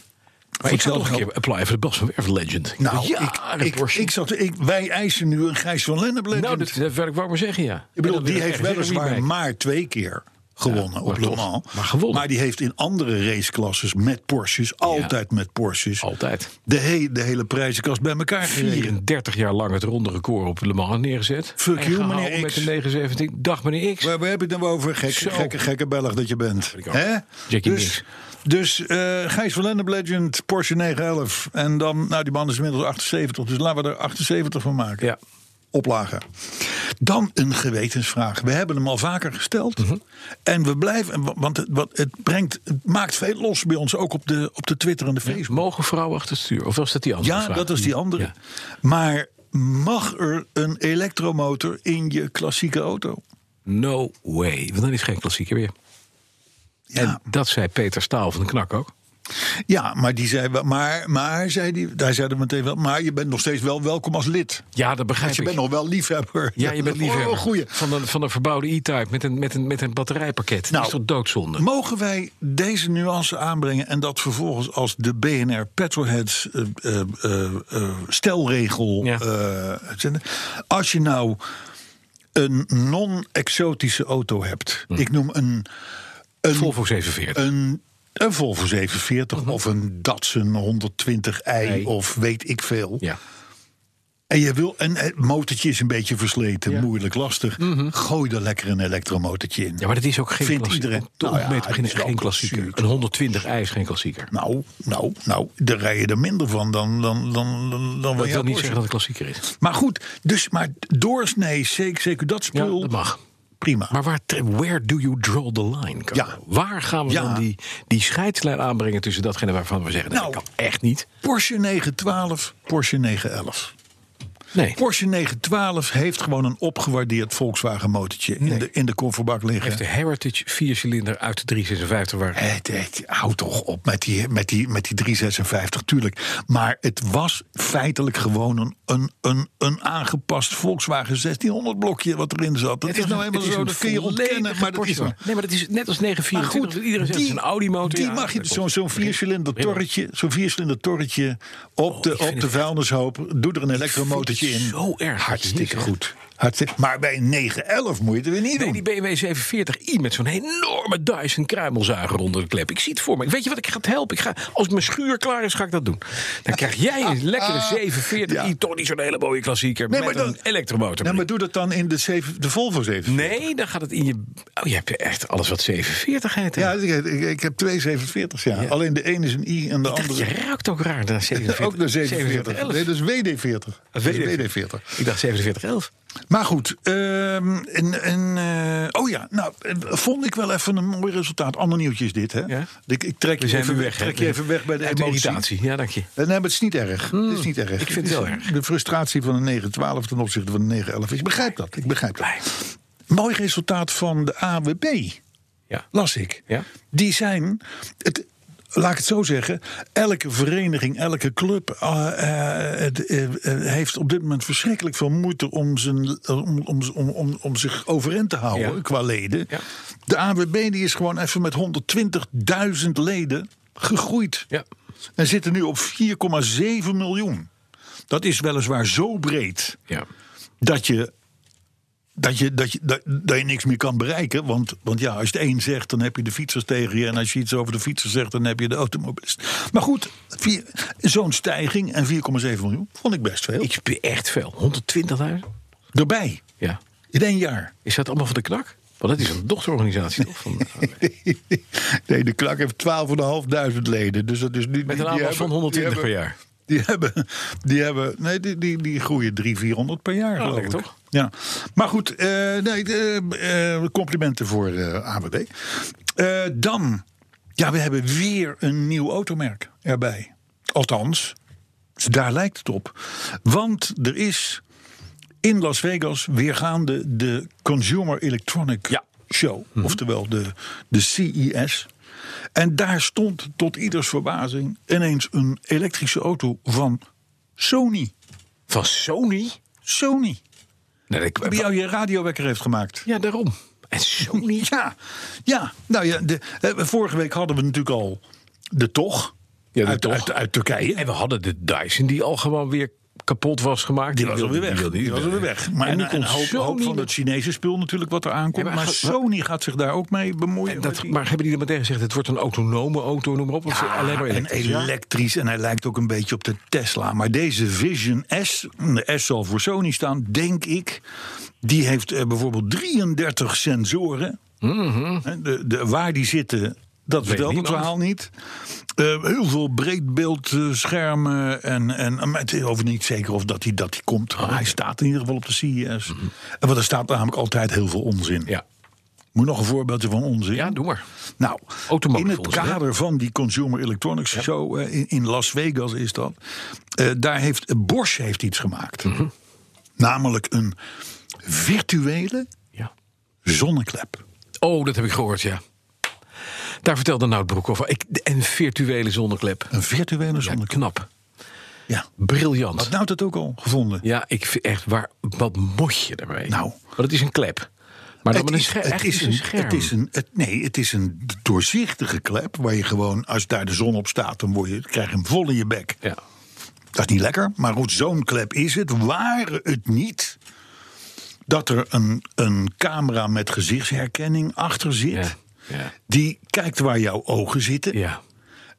Speaker 3: Maar ik zou
Speaker 6: hetzelfde
Speaker 3: nog een
Speaker 6: geld-
Speaker 3: keer apply voor de Bas van Werf Legend.
Speaker 6: Nou,
Speaker 3: ja,
Speaker 6: ik,
Speaker 3: de
Speaker 6: ik,
Speaker 3: Porsche.
Speaker 6: ik zat, ik, wij eisen nu een Gijs van Lennep legend.
Speaker 3: nou, dat, dat wil ik wel maar zeggen, ja.
Speaker 6: ik
Speaker 3: En
Speaker 6: bedoel,
Speaker 3: dan wil
Speaker 6: die
Speaker 3: ik
Speaker 6: heeft
Speaker 3: ergens een
Speaker 6: weliswaar
Speaker 3: remake.
Speaker 6: maar twee keer gewonnen op
Speaker 3: maar
Speaker 6: Le
Speaker 3: toch.
Speaker 6: Mans.
Speaker 3: Maar gewonnen.
Speaker 6: Maar die heeft in andere raceklasses met Porsches, altijd met Porsches,
Speaker 3: Altijd.
Speaker 6: de, he- de hele prijzenkast bij elkaar gereden.
Speaker 3: 34 jaar lang het ronde record op Le Mans neergezet.
Speaker 6: Fuck
Speaker 3: En
Speaker 6: you,
Speaker 3: gehouden
Speaker 6: meneer
Speaker 3: Met
Speaker 6: X.
Speaker 3: de 917. Dag, meneer X.
Speaker 6: Waar, waar heb je het nou over? Gek,
Speaker 3: Zo.
Speaker 6: gekke, gekke Belg dat je bent.
Speaker 3: ik ook.
Speaker 6: Hè?
Speaker 3: Jackie
Speaker 6: dus dus eh, Gijs van Lennep Legend, Porsche 911. En dan, nou die man is inmiddels 78, dus laten we er 78 van maken.
Speaker 3: Ja.
Speaker 6: Oplagen. Dan een gewetensvraag. We hebben hem al vaker gesteld.
Speaker 3: Mhm.
Speaker 6: En we blijven, wa- want het, wat, het, brengt, het maakt veel los bij ons, ook op de, op de Twitter en de Facebook.
Speaker 3: Mogen vrouwen achter het stuur? Of was dat die andere
Speaker 6: Ja,
Speaker 3: vraag?
Speaker 6: dat is die andere.
Speaker 3: Ja.
Speaker 6: Maar mag er een elektromotor in je klassieke auto?
Speaker 3: No way. Want dan is geen klassieker meer.
Speaker 6: Ja,
Speaker 3: Dat zei Peter Staal van de Knak ook.
Speaker 6: ja maar die zei, wel- maar, maar zei die, daar zeiden we meteen wel, maar je bent nog steeds wel welkom als lid.
Speaker 3: Ja, dat begrijp
Speaker 6: Want je
Speaker 3: ik.
Speaker 6: bent nog wel liefhebber.
Speaker 3: Ja, je bent liefhebber.
Speaker 6: Oh, goeie.
Speaker 3: Van een, van een verbouwde e-type met een, met een, met een batterijpakket.
Speaker 6: Nou.
Speaker 3: dat is toch doodzonde?
Speaker 6: Mogen wij deze nuance aanbrengen en dat vervolgens als de BNR Petrolheads eh, eh, eh, eh, stelregel
Speaker 3: Ja.
Speaker 6: eh, uitzenden? Als je nou een non-exotische auto hebt, ik noem een, een
Speaker 3: Hm. Volvo Mhm. 47.
Speaker 6: een, een Volvo 740 of een Datsun 120i of weet ik veel.
Speaker 3: ja.
Speaker 6: En je wil en het motortje is een beetje versleten, moeilijk, lastig. Gooi er lekker een elektromotortje in.
Speaker 3: Mhm. ja, maar dat is ook geen
Speaker 6: Vindt
Speaker 3: klassieker.
Speaker 6: iedereen-
Speaker 3: Om te- om
Speaker 6: Nou ja,
Speaker 3: mee te
Speaker 6: het is
Speaker 3: beginnen,
Speaker 6: wel
Speaker 3: geen klassieker.
Speaker 6: klassieker.
Speaker 3: Een 120 i is geen klassieker.
Speaker 6: Nou, nou, nou, daar rij je er minder van dan dan dan dan. dan
Speaker 3: Dat
Speaker 6: ja,
Speaker 3: wil niet
Speaker 6: Porsche.
Speaker 3: zeggen dat het klassieker is.
Speaker 6: Maar goed, dus maar doorsnee, zeker, zeker dat
Speaker 3: Ja,
Speaker 6: spul.
Speaker 3: dat mag.
Speaker 6: Prima.
Speaker 3: Maar waar, tre- where do you draw the line? Carlo?
Speaker 6: Ja.
Speaker 3: Waar gaan we
Speaker 6: Ja.
Speaker 3: dan die, die scheidslijn aanbrengen tussen datgene waarvan we zeggen: nee,
Speaker 6: Nou.
Speaker 3: dat kan echt niet?
Speaker 6: Porsche 912, Porsche 911.
Speaker 3: Nee.
Speaker 6: Porsche 912 heeft gewoon een opgewaardeerd Volkswagen motortje in, de, in de kofferbak liggen.
Speaker 3: heeft de Heritage viercilinder uit de 356 waar.
Speaker 6: Het, het, Eh, hou toch op met die, met, die, met die 356, tuurlijk. Maar het was feitelijk gewoon een, een, een, een aangepast Volkswagen 1600 blokje wat erin zat. Dat is
Speaker 3: was
Speaker 6: nou
Speaker 3: een-
Speaker 6: eenmaal
Speaker 3: het is
Speaker 6: zo,
Speaker 3: een
Speaker 6: dat kun je
Speaker 3: volledige
Speaker 6: ontkennen, maar dat is
Speaker 3: Porsche.
Speaker 6: waar.
Speaker 3: Nee, maar dat is net als
Speaker 6: Maar
Speaker 3: 924.
Speaker 6: goed,
Speaker 3: want iedereen zegt het is een Audi-motor.
Speaker 6: die
Speaker 3: Ja,
Speaker 6: mag je,
Speaker 3: dat
Speaker 6: zo'n
Speaker 3: klopt.
Speaker 6: zo'n viercilinder torretje, zo'n viercilinder torretje op de,
Speaker 3: Oh, ik vind
Speaker 6: op de
Speaker 3: het-
Speaker 6: vuilnishoop. Doe er een elektromotortje in.
Speaker 3: zo erg.
Speaker 6: Hartstikke
Speaker 3: Jezus.
Speaker 6: goed. Hartstikke, maar bij een 911 moet je het er weer niet
Speaker 3: Nee, die
Speaker 6: doen.
Speaker 3: BMW 740i met zo'n enorme Dyson kruimelzuiger onder de klep. Ik zie het voor me. Weet je wat ik ga het helpen? Ik ga, als mijn schuur klaar is, ga ik dat doen. Dan krijg jij een lekkere 740i,
Speaker 6: Ah, Ja.
Speaker 3: toch niet zo'n hele mooie klassieker,
Speaker 6: Nee,
Speaker 3: met
Speaker 6: maar dan-
Speaker 3: een elektromotor.
Speaker 6: Nou, maar doe dat dan in de, zeven- de Volvo 7.
Speaker 3: Nee, dan gaat het in je... Oh, je hebt echt alles wat 740 heet. hè?
Speaker 6: Ja, ik, ik, ik heb twee 47's, ja.
Speaker 3: Ja.
Speaker 6: Alleen de een is een I en de
Speaker 3: Ik dacht,
Speaker 6: andere...
Speaker 3: je ruikt ook raar naar 47.
Speaker 6: Ook de 47. Nee, dat is WD-40.
Speaker 3: Ah,
Speaker 6: Dat is WD-40.
Speaker 3: Ik dacht 4711.
Speaker 6: Maar goed, ehm, en, en, eh, oh ja, nou, eh, vond ik wel even een mooi resultaat. Ander nieuwtje is dit, hè?
Speaker 3: Ja.
Speaker 6: Ik, ik trek,
Speaker 3: We
Speaker 6: je
Speaker 3: zijn
Speaker 6: even
Speaker 3: weer
Speaker 6: weg,
Speaker 3: weg. hè?
Speaker 6: trek je even weg bij de
Speaker 3: Uit
Speaker 6: emotie.
Speaker 3: irritatie. Ja, dank je.
Speaker 6: Eh, Nee, maar het is niet erg. het is niet erg.
Speaker 3: ik vind het wel erg.
Speaker 6: De frustratie van een 9-12 ten opzichte van een 9-11. Ik begrijp dat. Ik begrijp dat.
Speaker 3: Blij.
Speaker 6: Mooi resultaat van de AWB
Speaker 3: Ja.
Speaker 6: las ik.
Speaker 3: Ja.
Speaker 6: Die zijn, het, laat ik het zo zeggen, elke vereniging, elke club eh, eh, het, eh, eh, heeft op dit moment verschrikkelijk veel moeite om, zijn, om, om, om, om, om zich overeind te houden
Speaker 3: Ja.
Speaker 6: qua leden.
Speaker 3: Ja.
Speaker 6: De AWB die is gewoon even met 120.000 leden gegroeid.
Speaker 3: Ja.
Speaker 6: En zitten nu op 4,7 miljoen. Dat is weliswaar zo breed
Speaker 3: Ja.
Speaker 6: dat je. Dat je, dat, je, dat, dat je niks meer kan bereiken. Want, want ja, als je het een zegt, dan heb je de fietsers tegen je. En als je iets over de fietsers zegt, dan heb je de automobilist. Maar goed, vier- zo'n stijging en 4,7 miljoen vond ik best veel.
Speaker 3: Ik speel echt veel. 120.000?
Speaker 6: Daarbij,
Speaker 3: Ja.
Speaker 6: in één jaar.
Speaker 3: Is dat allemaal van de knak? Want dat is een dochterorganisatie, toch? Van,
Speaker 6: *laughs*
Speaker 3: eh,
Speaker 6: Nee, de klak heeft 12.500 leden. Dus dat is niet.
Speaker 3: met een aanwas van 120 per jaar.
Speaker 6: Die hebben, die hebben, nee, die, die, die groeien 300, 400 per jaar, geloof ik.
Speaker 3: Oh, lekker toch?
Speaker 6: Ja. Maar goed, eh, nee, eh, eh, complimenten voor eh AWB. Eh, dan, ja, we hebben weer een nieuw automerk erbij. Althans, Dus daar lijkt het op. Want er is in Las Vegas weergaande de Consumer Electronic
Speaker 3: Ja.
Speaker 6: Show. Oftewel de, de CES. En daar stond tot ieders verbazing ineens een elektrische auto van Sony.
Speaker 3: Van Sony?
Speaker 6: Sony.
Speaker 3: Nee, ik-
Speaker 6: Die jou je radiowekker heeft gemaakt.
Speaker 3: ja, daarom. En Sony?
Speaker 6: Ja, ja. nou ja, de, eh, vorige week hadden we natuurlijk al de toch.
Speaker 3: Ja, de
Speaker 6: uit,
Speaker 3: Toch.
Speaker 6: Uit, uit Turkije.
Speaker 3: En we hadden de Dyson die al gewoon weer kapot was gemaakt.
Speaker 6: Die was alweer weg.
Speaker 3: wilde
Speaker 6: Die was alweer weg. Maar
Speaker 3: en nu
Speaker 6: en
Speaker 3: komt
Speaker 6: een hoop,
Speaker 3: Sony
Speaker 6: hoop van
Speaker 3: met-
Speaker 6: het Chinese spul natuurlijk wat er aankomt.
Speaker 3: Ja, maar
Speaker 6: maar
Speaker 3: ga-
Speaker 6: Sony gaat zich daar ook mee bemoeien.
Speaker 3: En
Speaker 6: met
Speaker 3: dat,
Speaker 6: die-
Speaker 3: maar hebben die er meteen gezegd, het wordt een autonome auto, noem maar op. Of ze- alleen maar
Speaker 6: en
Speaker 3: elektrisch. ja?
Speaker 6: elektrisch. En hij lijkt ook een beetje op de Tesla. Maar deze Vision S, de S zal voor Sony staan, denk ik. Die heeft eh, bijvoorbeeld 33 sensoren. Hè, De, de, waar die zitten, dat vertelt het
Speaker 3: niemand.
Speaker 6: verhaal niet. Eh, heel veel breedbeeldschermen. En, en, maar het is over niet zeker of dat hij dat die komt. Maar hij staat in ieder geval op de CES. En Want er staat namelijk altijd heel veel onzin.
Speaker 3: Ja.
Speaker 6: Moet nog een voorbeeldje van onzin?
Speaker 3: ja, doe maar.
Speaker 6: Nou,
Speaker 3: Automotive
Speaker 6: in het
Speaker 3: onzin, hè?
Speaker 6: kader van die Consumer Electronics Show eh, in, in Las Vegas is dat. eh, daar heeft eh, Bosch heeft iets gemaakt.
Speaker 3: Mhm.
Speaker 6: Namelijk een virtuele
Speaker 3: Ja.
Speaker 6: zonneklep.
Speaker 3: Oh, dat heb ik gehoord, ja. Daar vertelde Nout Broek over. Ik, en virtuele zonneklep.
Speaker 6: Een virtuele
Speaker 3: Ja,
Speaker 6: zonneklep.
Speaker 3: knap.
Speaker 6: Ja.
Speaker 3: Briljant.
Speaker 6: Had nou dat ook al gevonden?
Speaker 3: Ja, ik vind echt, waar, wat moet je daarmee?
Speaker 6: Nou.
Speaker 3: Want het is een klep. Maar dan
Speaker 6: Het
Speaker 3: met een
Speaker 6: is-
Speaker 3: scherm.
Speaker 6: het
Speaker 3: Echt,
Speaker 6: is een-
Speaker 3: scherm.
Speaker 6: Het is een, het, nee, het is een doorzichtige klep. Waar je gewoon, als daar de zon op staat, dan word je, krijg je hem vol in je bek.
Speaker 3: Ja.
Speaker 6: Dat is niet lekker, maar goed, zo'n klep is het. Ware het niet dat er een, een camera met gezichtsherkenning achter zit...
Speaker 3: Ja, ja.
Speaker 6: die kijkt waar jouw ogen zitten...
Speaker 3: ja.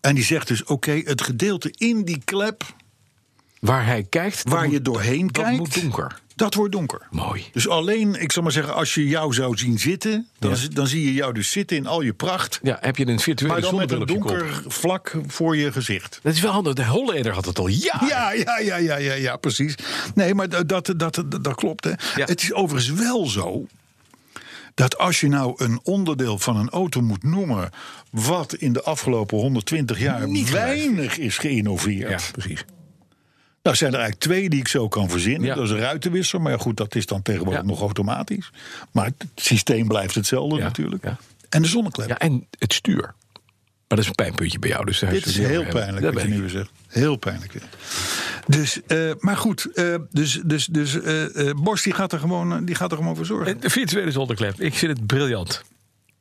Speaker 6: en die zegt dus, oké, het gedeelte in die klep
Speaker 3: Waar hij kijkt. dat
Speaker 6: waar
Speaker 3: moet-
Speaker 6: je doorheen
Speaker 3: dat
Speaker 6: kijkt...
Speaker 3: moet donker.
Speaker 6: Dat wordt donker.
Speaker 3: Mooi.
Speaker 6: Dus alleen, ik zal maar zeggen, als je jou zou zien zitten... dan,
Speaker 3: Ja.
Speaker 6: zi- dan zie je jou dus zitten in al je pracht...
Speaker 3: Ja, heb je een virtuele
Speaker 6: maar dan met
Speaker 3: zonnebril
Speaker 6: een
Speaker 3: op je kop.
Speaker 6: donker vlak voor je gezicht.
Speaker 3: Dat is wel handig. De Holleder had het al jaren.
Speaker 6: Ja, ja, ja, ja, ja, ja, precies. Nee, maar dat, dat, dat, dat klopt. Hè.
Speaker 3: Ja.
Speaker 6: Het is overigens wel zo dat als je nou een onderdeel van een auto moet noemen. wat in de afgelopen 120 jaar weinig is
Speaker 3: Ja,
Speaker 6: geïnnoveerd.
Speaker 3: precies.
Speaker 6: Nou zijn er eigenlijk twee die ik zo kan verzinnen.
Speaker 3: Ja.
Speaker 6: Dat is een ruitenwisser, maar ja, goed, dat is dan tegenwoordig
Speaker 3: Ja.
Speaker 6: nog automatisch. Maar het systeem blijft hetzelfde
Speaker 3: Ja,
Speaker 6: natuurlijk.
Speaker 3: ja.
Speaker 6: En de zonneklep.
Speaker 3: Ja, en het stuur. Maar dat is een pijnpuntje bij jou. Dus daar
Speaker 6: Dit is
Speaker 3: zullen we
Speaker 6: heel
Speaker 3: het over
Speaker 6: pijnlijk
Speaker 3: hebben.
Speaker 6: wat je
Speaker 3: Dat
Speaker 6: nu weer zegt. Heel pijnlijk weer. Dus, eh, maar goed, eh, dus, dus, dus eh, eh, Bosch die gaat, er gewoon, eh, die gaat er gewoon voor zorgen.
Speaker 3: weet ik. De virtuele zonneklep. Ik vind het briljant.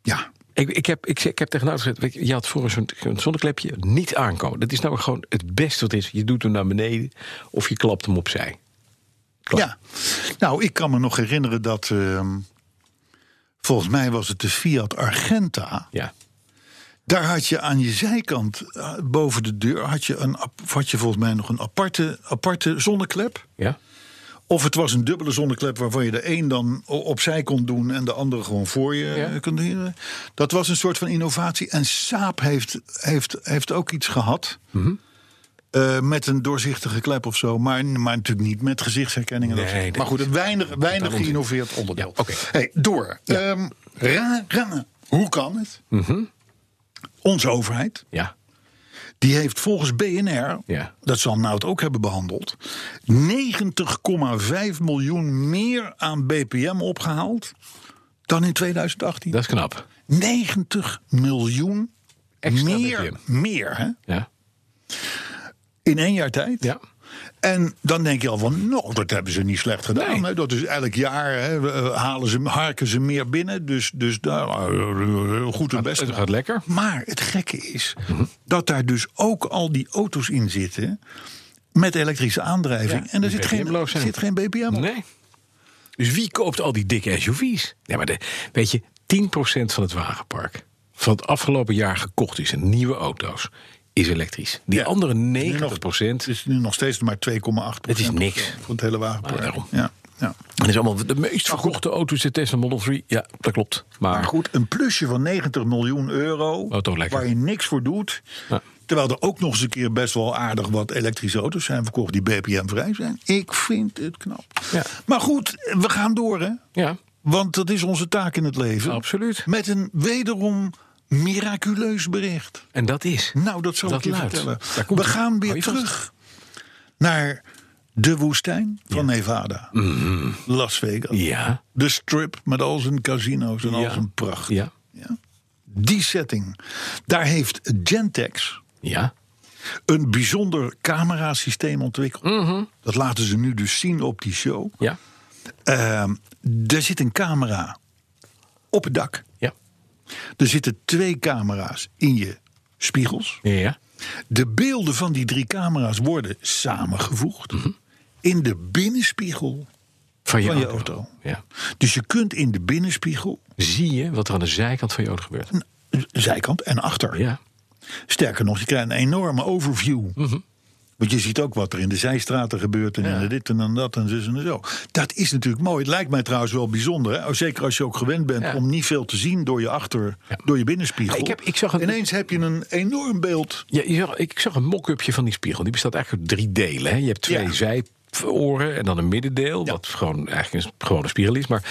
Speaker 6: Ja,
Speaker 3: Ik, ik, heb, ik, ik heb tegen Nout gezegd, weet je, je had voor zo'n zo'n zonneklepje niet aankomen. Dat is nou gewoon het beste wat is. Je doet hem naar beneden of je klapt hem opzij.
Speaker 6: ja. Nou, ik kan me nog herinneren dat... ehm, volgens mij was het de Fiat Argenta.
Speaker 3: Ja.
Speaker 6: Daar had je aan je zijkant, eh, boven de deur... had je, een, ap- had je volgens mij nog een aparte, aparte zonneklep.
Speaker 3: Ja?
Speaker 6: Of het was een dubbele zonneklep waarvan je de een dan o- opzij kon doen en de andere gewoon voor je
Speaker 3: Ja.
Speaker 6: eh, kon doen. Dat was een soort van innovatie. En Saab heeft, heeft, heeft ook iets gehad.
Speaker 3: Mhm.
Speaker 6: Eh, met een doorzichtige klep of zo. Maar, maar natuurlijk niet met gezichtsherkenning. en dat
Speaker 3: Nee,
Speaker 6: soort-
Speaker 3: dat
Speaker 6: maar goed,
Speaker 3: is-
Speaker 6: een weinig, weinig
Speaker 3: onzin.
Speaker 6: geïnnoveerd onderdeel.
Speaker 3: Ja, oké.
Speaker 6: hey, door. Ehm, ra- ra- hoe kan het?
Speaker 3: Mhm.
Speaker 6: Onze overheid
Speaker 3: Ja.
Speaker 6: die heeft volgens BNR,
Speaker 3: Ja.
Speaker 6: dat zal Nout ook hebben behandeld, 90,5 miljoen meer aan BPM opgehaald dan in 2018.
Speaker 3: Dat is knap.
Speaker 6: 90 miljoen
Speaker 3: Extra
Speaker 6: meer,
Speaker 3: BPM.
Speaker 6: meer hè?
Speaker 3: Ja.
Speaker 6: in één jaar tijd.
Speaker 3: Ja.
Speaker 6: En dan denk je al van, nou, dat hebben ze niet slecht gedaan.
Speaker 3: Nee.
Speaker 6: Hè? Dat is elk jaar, hè, we, eh, halen ze, harken ze meer binnen. Dus, dus daar, eh, goed en best.
Speaker 3: Het gaat lekker.
Speaker 6: Maar het gekke is
Speaker 3: Mhm.
Speaker 6: dat daar dus ook al die auto's in zitten met elektrische aandrijving.
Speaker 3: Ja,
Speaker 6: en
Speaker 3: die
Speaker 6: er zit geen,
Speaker 3: BPM-loos zijn.
Speaker 6: zit geen BPM op.
Speaker 3: Nee. Dus wie koopt al die dikke SUV's? Ja, maar de, weet je, 10% van het wagenpark van het afgelopen jaar gekocht is in nieuwe auto's, is elektrisch. Die
Speaker 6: Ja.
Speaker 3: andere 90%,
Speaker 6: Het is nu nog steeds maar 2,8
Speaker 3: Het is niks.
Speaker 6: Voor het hele wagenpark.
Speaker 3: Maar daarom.
Speaker 6: ja, ja.
Speaker 3: dat is allemaal de meest verkochte auto's, de Tesla Model 3. Ja, dat klopt.
Speaker 6: Maar Ah, goed, een plusje van 90 miljoen euro
Speaker 3: Oh, toch lekker.
Speaker 6: waar je niks voor doet.
Speaker 3: Ja.
Speaker 6: Terwijl er ook nog eens een keer best wel aardig wat elektrische auto's zijn verkocht die BPM-vrij zijn. Ik vind het knap.
Speaker 3: Ja.
Speaker 6: Maar goed, we gaan door hè.
Speaker 3: Ja,
Speaker 6: Want dat is onze taak in het leven.
Speaker 3: Absoluut.
Speaker 6: Met een wederom miraculeus bericht.
Speaker 3: en dat is.
Speaker 6: Nou, dat zal
Speaker 3: Dat
Speaker 6: ik je
Speaker 3: luidt.
Speaker 6: vertellen.
Speaker 3: Daar komt
Speaker 6: We
Speaker 3: het.
Speaker 6: gaan
Speaker 3: Hou je
Speaker 6: weer
Speaker 3: vast.
Speaker 6: terug naar de woestijn van Nevada. Las Vegas.
Speaker 3: Mhm. Ja.
Speaker 6: De strip met al zijn casino's en al
Speaker 3: Ja.
Speaker 6: zijn pracht.
Speaker 3: Ja.
Speaker 6: Ja. Die setting. Daar heeft Gentex
Speaker 3: Ja.
Speaker 6: een bijzonder camerasysteem ontwikkeld.
Speaker 3: Mhm.
Speaker 6: Dat laten ze nu dus zien op die show.
Speaker 3: Ja.
Speaker 6: Ehm, er zit een camera op het dak.
Speaker 3: Ja.
Speaker 6: Er zitten twee camera's in je spiegels.
Speaker 3: Ja. Mhm.
Speaker 6: De beelden van die drie camera's worden samengevoegd. in de binnenspiegel
Speaker 3: Van je,
Speaker 6: van je
Speaker 3: auto.
Speaker 6: auto.
Speaker 3: Ja.
Speaker 6: Dus je kunt in de binnenspiegel,
Speaker 3: Zie je wat er aan de zijkant van je auto gebeurt?
Speaker 6: Nou. zijkant en achter.
Speaker 3: Ja.
Speaker 6: Sterker nog, je krijgt een enorme overview.
Speaker 3: Mhm.
Speaker 6: Want je ziet ook wat er in de zijstraten gebeurt. En in dit en dan dat en zo en zo. Dat is natuurlijk mooi. Het lijkt mij trouwens wel bijzonder. Hè? Oh, Zeker als je ook gewend bent
Speaker 3: Ja.
Speaker 6: om niet veel te zien door je achter, door je binnenspiegel.
Speaker 3: Ik heb- ik zag een-
Speaker 6: Ineens heb je een enorm beeld.
Speaker 3: Ja, je zag- ik zag een mock-upje van die spiegel. Die bestaat eigenlijk uit drie delen. Hè. Je hebt twee
Speaker 6: Ja.
Speaker 3: zijoren en dan een middendeel. Wat gewoon eigenlijk een gewone spiegel is. Maar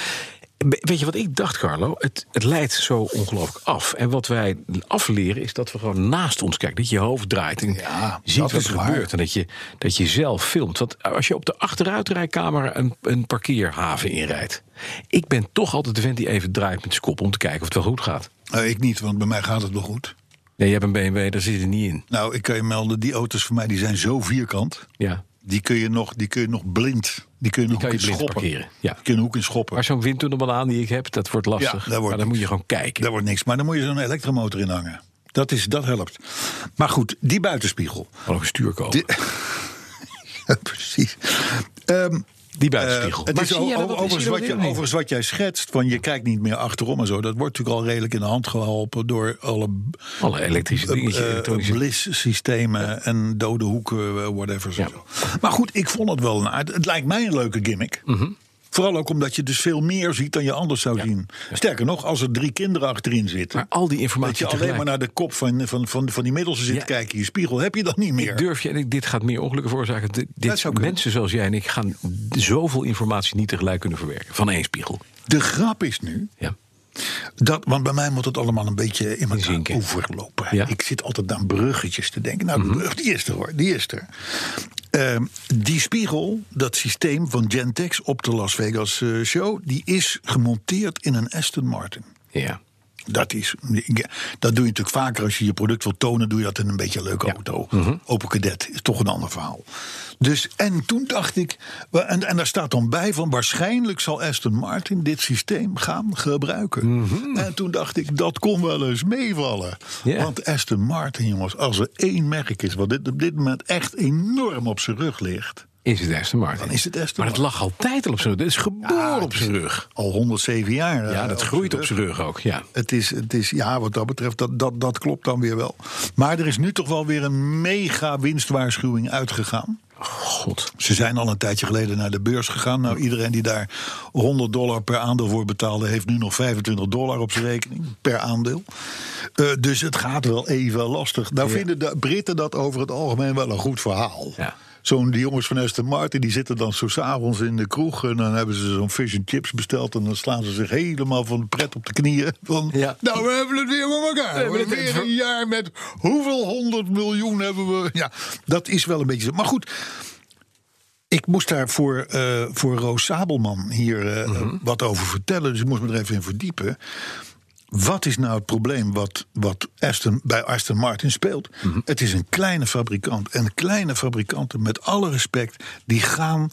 Speaker 3: we- weet je wat ik dacht, Carlo? Het, het leidt zo ongelooflijk af. En wat wij afleren is dat we gewoon naast ons kijken. Dat je je hoofd draait en
Speaker 6: Ja,
Speaker 3: ziet
Speaker 6: dat
Speaker 3: wat
Speaker 6: is
Speaker 3: er
Speaker 6: waar.
Speaker 3: gebeurt. En dat je, dat je zelf filmt. Want als je op de achteruitrijkamer een, een parkeerhaven inrijdt. Ik ben toch altijd de vent die even draait met zijn kop om te kijken of het wel goed gaat.
Speaker 6: Nou, ik niet, want bij mij gaat het wel goed.
Speaker 3: Nee, je hebt een BMW, daar zit er niet in.
Speaker 6: Nou, ik kan je melden, die auto's van mij die zijn zo vierkant.
Speaker 3: Ja.
Speaker 6: Die kun je nog, die kun je nog blind. Die kun je nog
Speaker 3: kan je
Speaker 6: een hoek in
Speaker 3: blind
Speaker 6: schoppen.
Speaker 3: parkeren, ja.
Speaker 6: Die kun je een hoek in schoppen.
Speaker 3: Maar zo'n windtunnelbanaan die ik heb, dat wordt lastig.
Speaker 6: Ja, dat
Speaker 3: maar dan
Speaker 6: wordt niks.
Speaker 3: moet je gewoon kijken.
Speaker 6: Daar wordt niks. Maar dan moet je zo'n elektromotor in hangen. Dat, is, dat helpt. Maar goed, die buitenspiegel. *laughs*
Speaker 3: Gewoon een stuur kopen.
Speaker 6: Dit- Ja, Precies. Ehm,
Speaker 3: die
Speaker 6: eh,
Speaker 3: buitenspiegel.
Speaker 6: het
Speaker 3: Maar
Speaker 6: is
Speaker 3: zie
Speaker 6: al-
Speaker 3: jij dat-
Speaker 6: over-
Speaker 3: zie je
Speaker 6: overigens,
Speaker 3: dat
Speaker 6: wat je,
Speaker 3: ook niet?
Speaker 6: overigens wat jij schetst, van je kijkt niet meer achterom en zo, dat wordt natuurlijk al redelijk in de hand geholpen door alle
Speaker 3: Alle elektrische
Speaker 6: Eh,
Speaker 3: dingetjes, elektronische-
Speaker 6: blis-systemen en dode hoeken, eh, whatever.
Speaker 3: Ja.
Speaker 6: zo. Maar goed, ik vond het wel een aard. Het lijkt mij een leuke gimmick.
Speaker 3: Mhm.
Speaker 6: Vooral ook omdat je dus veel meer ziet dan je anders zou zien. Sterker nog, als er drie kinderen achterin zitten.
Speaker 3: Maar al die
Speaker 6: Dat je
Speaker 3: informatie
Speaker 6: alleen maar
Speaker 3: tegelijk.
Speaker 6: naar de kop van, van, van, van die middelste zit
Speaker 3: Ja.
Speaker 6: te kijken. Je spiegel heb je dan niet meer.
Speaker 3: Ik durf je, en ik- dit gaat meer ongelukken veroorzaken. Dit, dit-
Speaker 6: zou kunnen.
Speaker 3: mensen zoals jij en ik gaan d- zoveel informatie niet tegelijk kunnen verwerken. Van één spiegel.
Speaker 6: De grap is nu,
Speaker 3: Ja.
Speaker 6: dat, want bij mij moet het allemaal een beetje in elkaar
Speaker 3: Inzinken.
Speaker 6: overlopen.
Speaker 3: Ja.
Speaker 6: Ik zit altijd aan bruggetjes te denken. Nou, die brug die is er hoor, die is er. Ehm, die spiegel, dat systeem van Gentex op de Las Vegas eh, show... die is gemonteerd in een Aston Martin.
Speaker 3: ja.
Speaker 6: Dat, is, dat doe je natuurlijk vaker als je je product wil tonen. Doe je dat in een beetje een leuke auto.
Speaker 3: Mhm.
Speaker 6: Opel Cadet is toch een ander verhaal. Dus, en toen dacht ik, wa- en, en daar staat dan bij van waarschijnlijk zal Aston Martin dit systeem gaan gebruiken. En toen dacht ik, dat kon wel eens meevallen.
Speaker 3: Mhm. Ja.
Speaker 6: Want Aston Martin, jongens, als er één merk is wat dit, op dit moment echt enorm op zijn rug ligt.
Speaker 3: Is het Aston Martin?
Speaker 6: Dan is het Aston
Speaker 3: maar het lag altijd al op zijn rug. Het is geboren op zijn rug.
Speaker 6: Al 107 jaar. eh,
Speaker 3: Ja, dat
Speaker 6: op
Speaker 3: groeit
Speaker 6: zijn
Speaker 3: op
Speaker 6: rug.
Speaker 3: zijn rug ook. Ja.
Speaker 6: Het is, het is, ja, wat dat betreft, dat, dat, dat klopt dan weer wel. Maar er is nu toch wel weer een mega winstwaarschuwing uitgegaan.
Speaker 3: God.
Speaker 6: Ze zijn al een tijdje geleden naar de beurs gegaan. Nou, iedereen die daar 100 dollar per aandeel voor betaalde, heeft nu nog 25 dollar op zijn rekening per aandeel. Eh, dus het gaat wel even lastig. Nou, vinden de Britten dat over het algemeen wel een goed verhaal.
Speaker 3: Ja.
Speaker 6: Zo'n die jongens van Aston Martin, die zitten dan zo s'avonds in de kroeg. En dan hebben ze zo'n fish and chips besteld. En dan slaan ze zich helemaal van de pret op de knieën. Van,
Speaker 3: Ja.
Speaker 6: Nou, we hebben het weer met elkaar. We
Speaker 3: hebben
Speaker 6: hebben
Speaker 3: het
Speaker 6: weer
Speaker 3: weer.
Speaker 6: een jaar met hoeveel honderd miljoen hebben we. Ja, dat is wel een beetje zo. Maar goed, ik moest daar voor, eh, voor Roos Sabelman hier eh,
Speaker 3: Mhm.
Speaker 6: wat over vertellen. Dus ik moest me er even in verdiepen. Wat is nou het probleem wat, wat Aston, bij Aston Martin speelt?
Speaker 3: Mhm.
Speaker 6: Het is een kleine fabrikant. En kleine fabrikanten, met alle respect, die gaan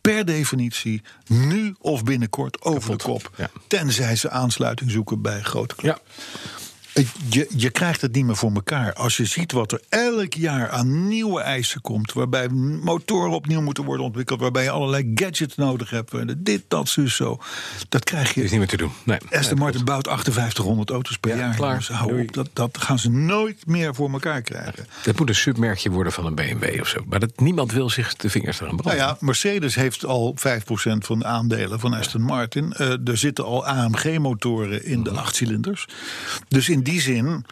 Speaker 6: per definitie nu of binnenkort over de kop.
Speaker 3: ja.
Speaker 6: Tenzij ze aansluiting zoeken bij grote clubs.
Speaker 3: Ja.
Speaker 6: Je, je krijgt het niet meer voor elkaar. Als je ziet wat er elk jaar aan nieuwe eisen komt. Waarbij motoren opnieuw moeten worden ontwikkeld. Waarbij je allerlei gadgets nodig hebt. eh, Dit, dat, zus, zo. Dat krijg
Speaker 3: Is
Speaker 6: je.
Speaker 3: niet meer te doen. Nee.
Speaker 6: Aston Martin bouwt 5800 auto's per
Speaker 3: Ja,
Speaker 6: jaar.
Speaker 3: klaar.
Speaker 6: jongens. hou
Speaker 3: Doei.
Speaker 6: op, dat, dat gaan ze nooit meer voor elkaar krijgen.
Speaker 3: Dat moet een submerkje worden van een BMW of zo. Maar dat, niemand wil zich de vingers eraan
Speaker 6: Nou
Speaker 3: branden.
Speaker 6: ja, Mercedes heeft al 5% van de aandelen van Aston Martin. Eh, er zitten al AMG-motoren in
Speaker 3: Mhm.
Speaker 6: de achtcilinders. Dus in die zin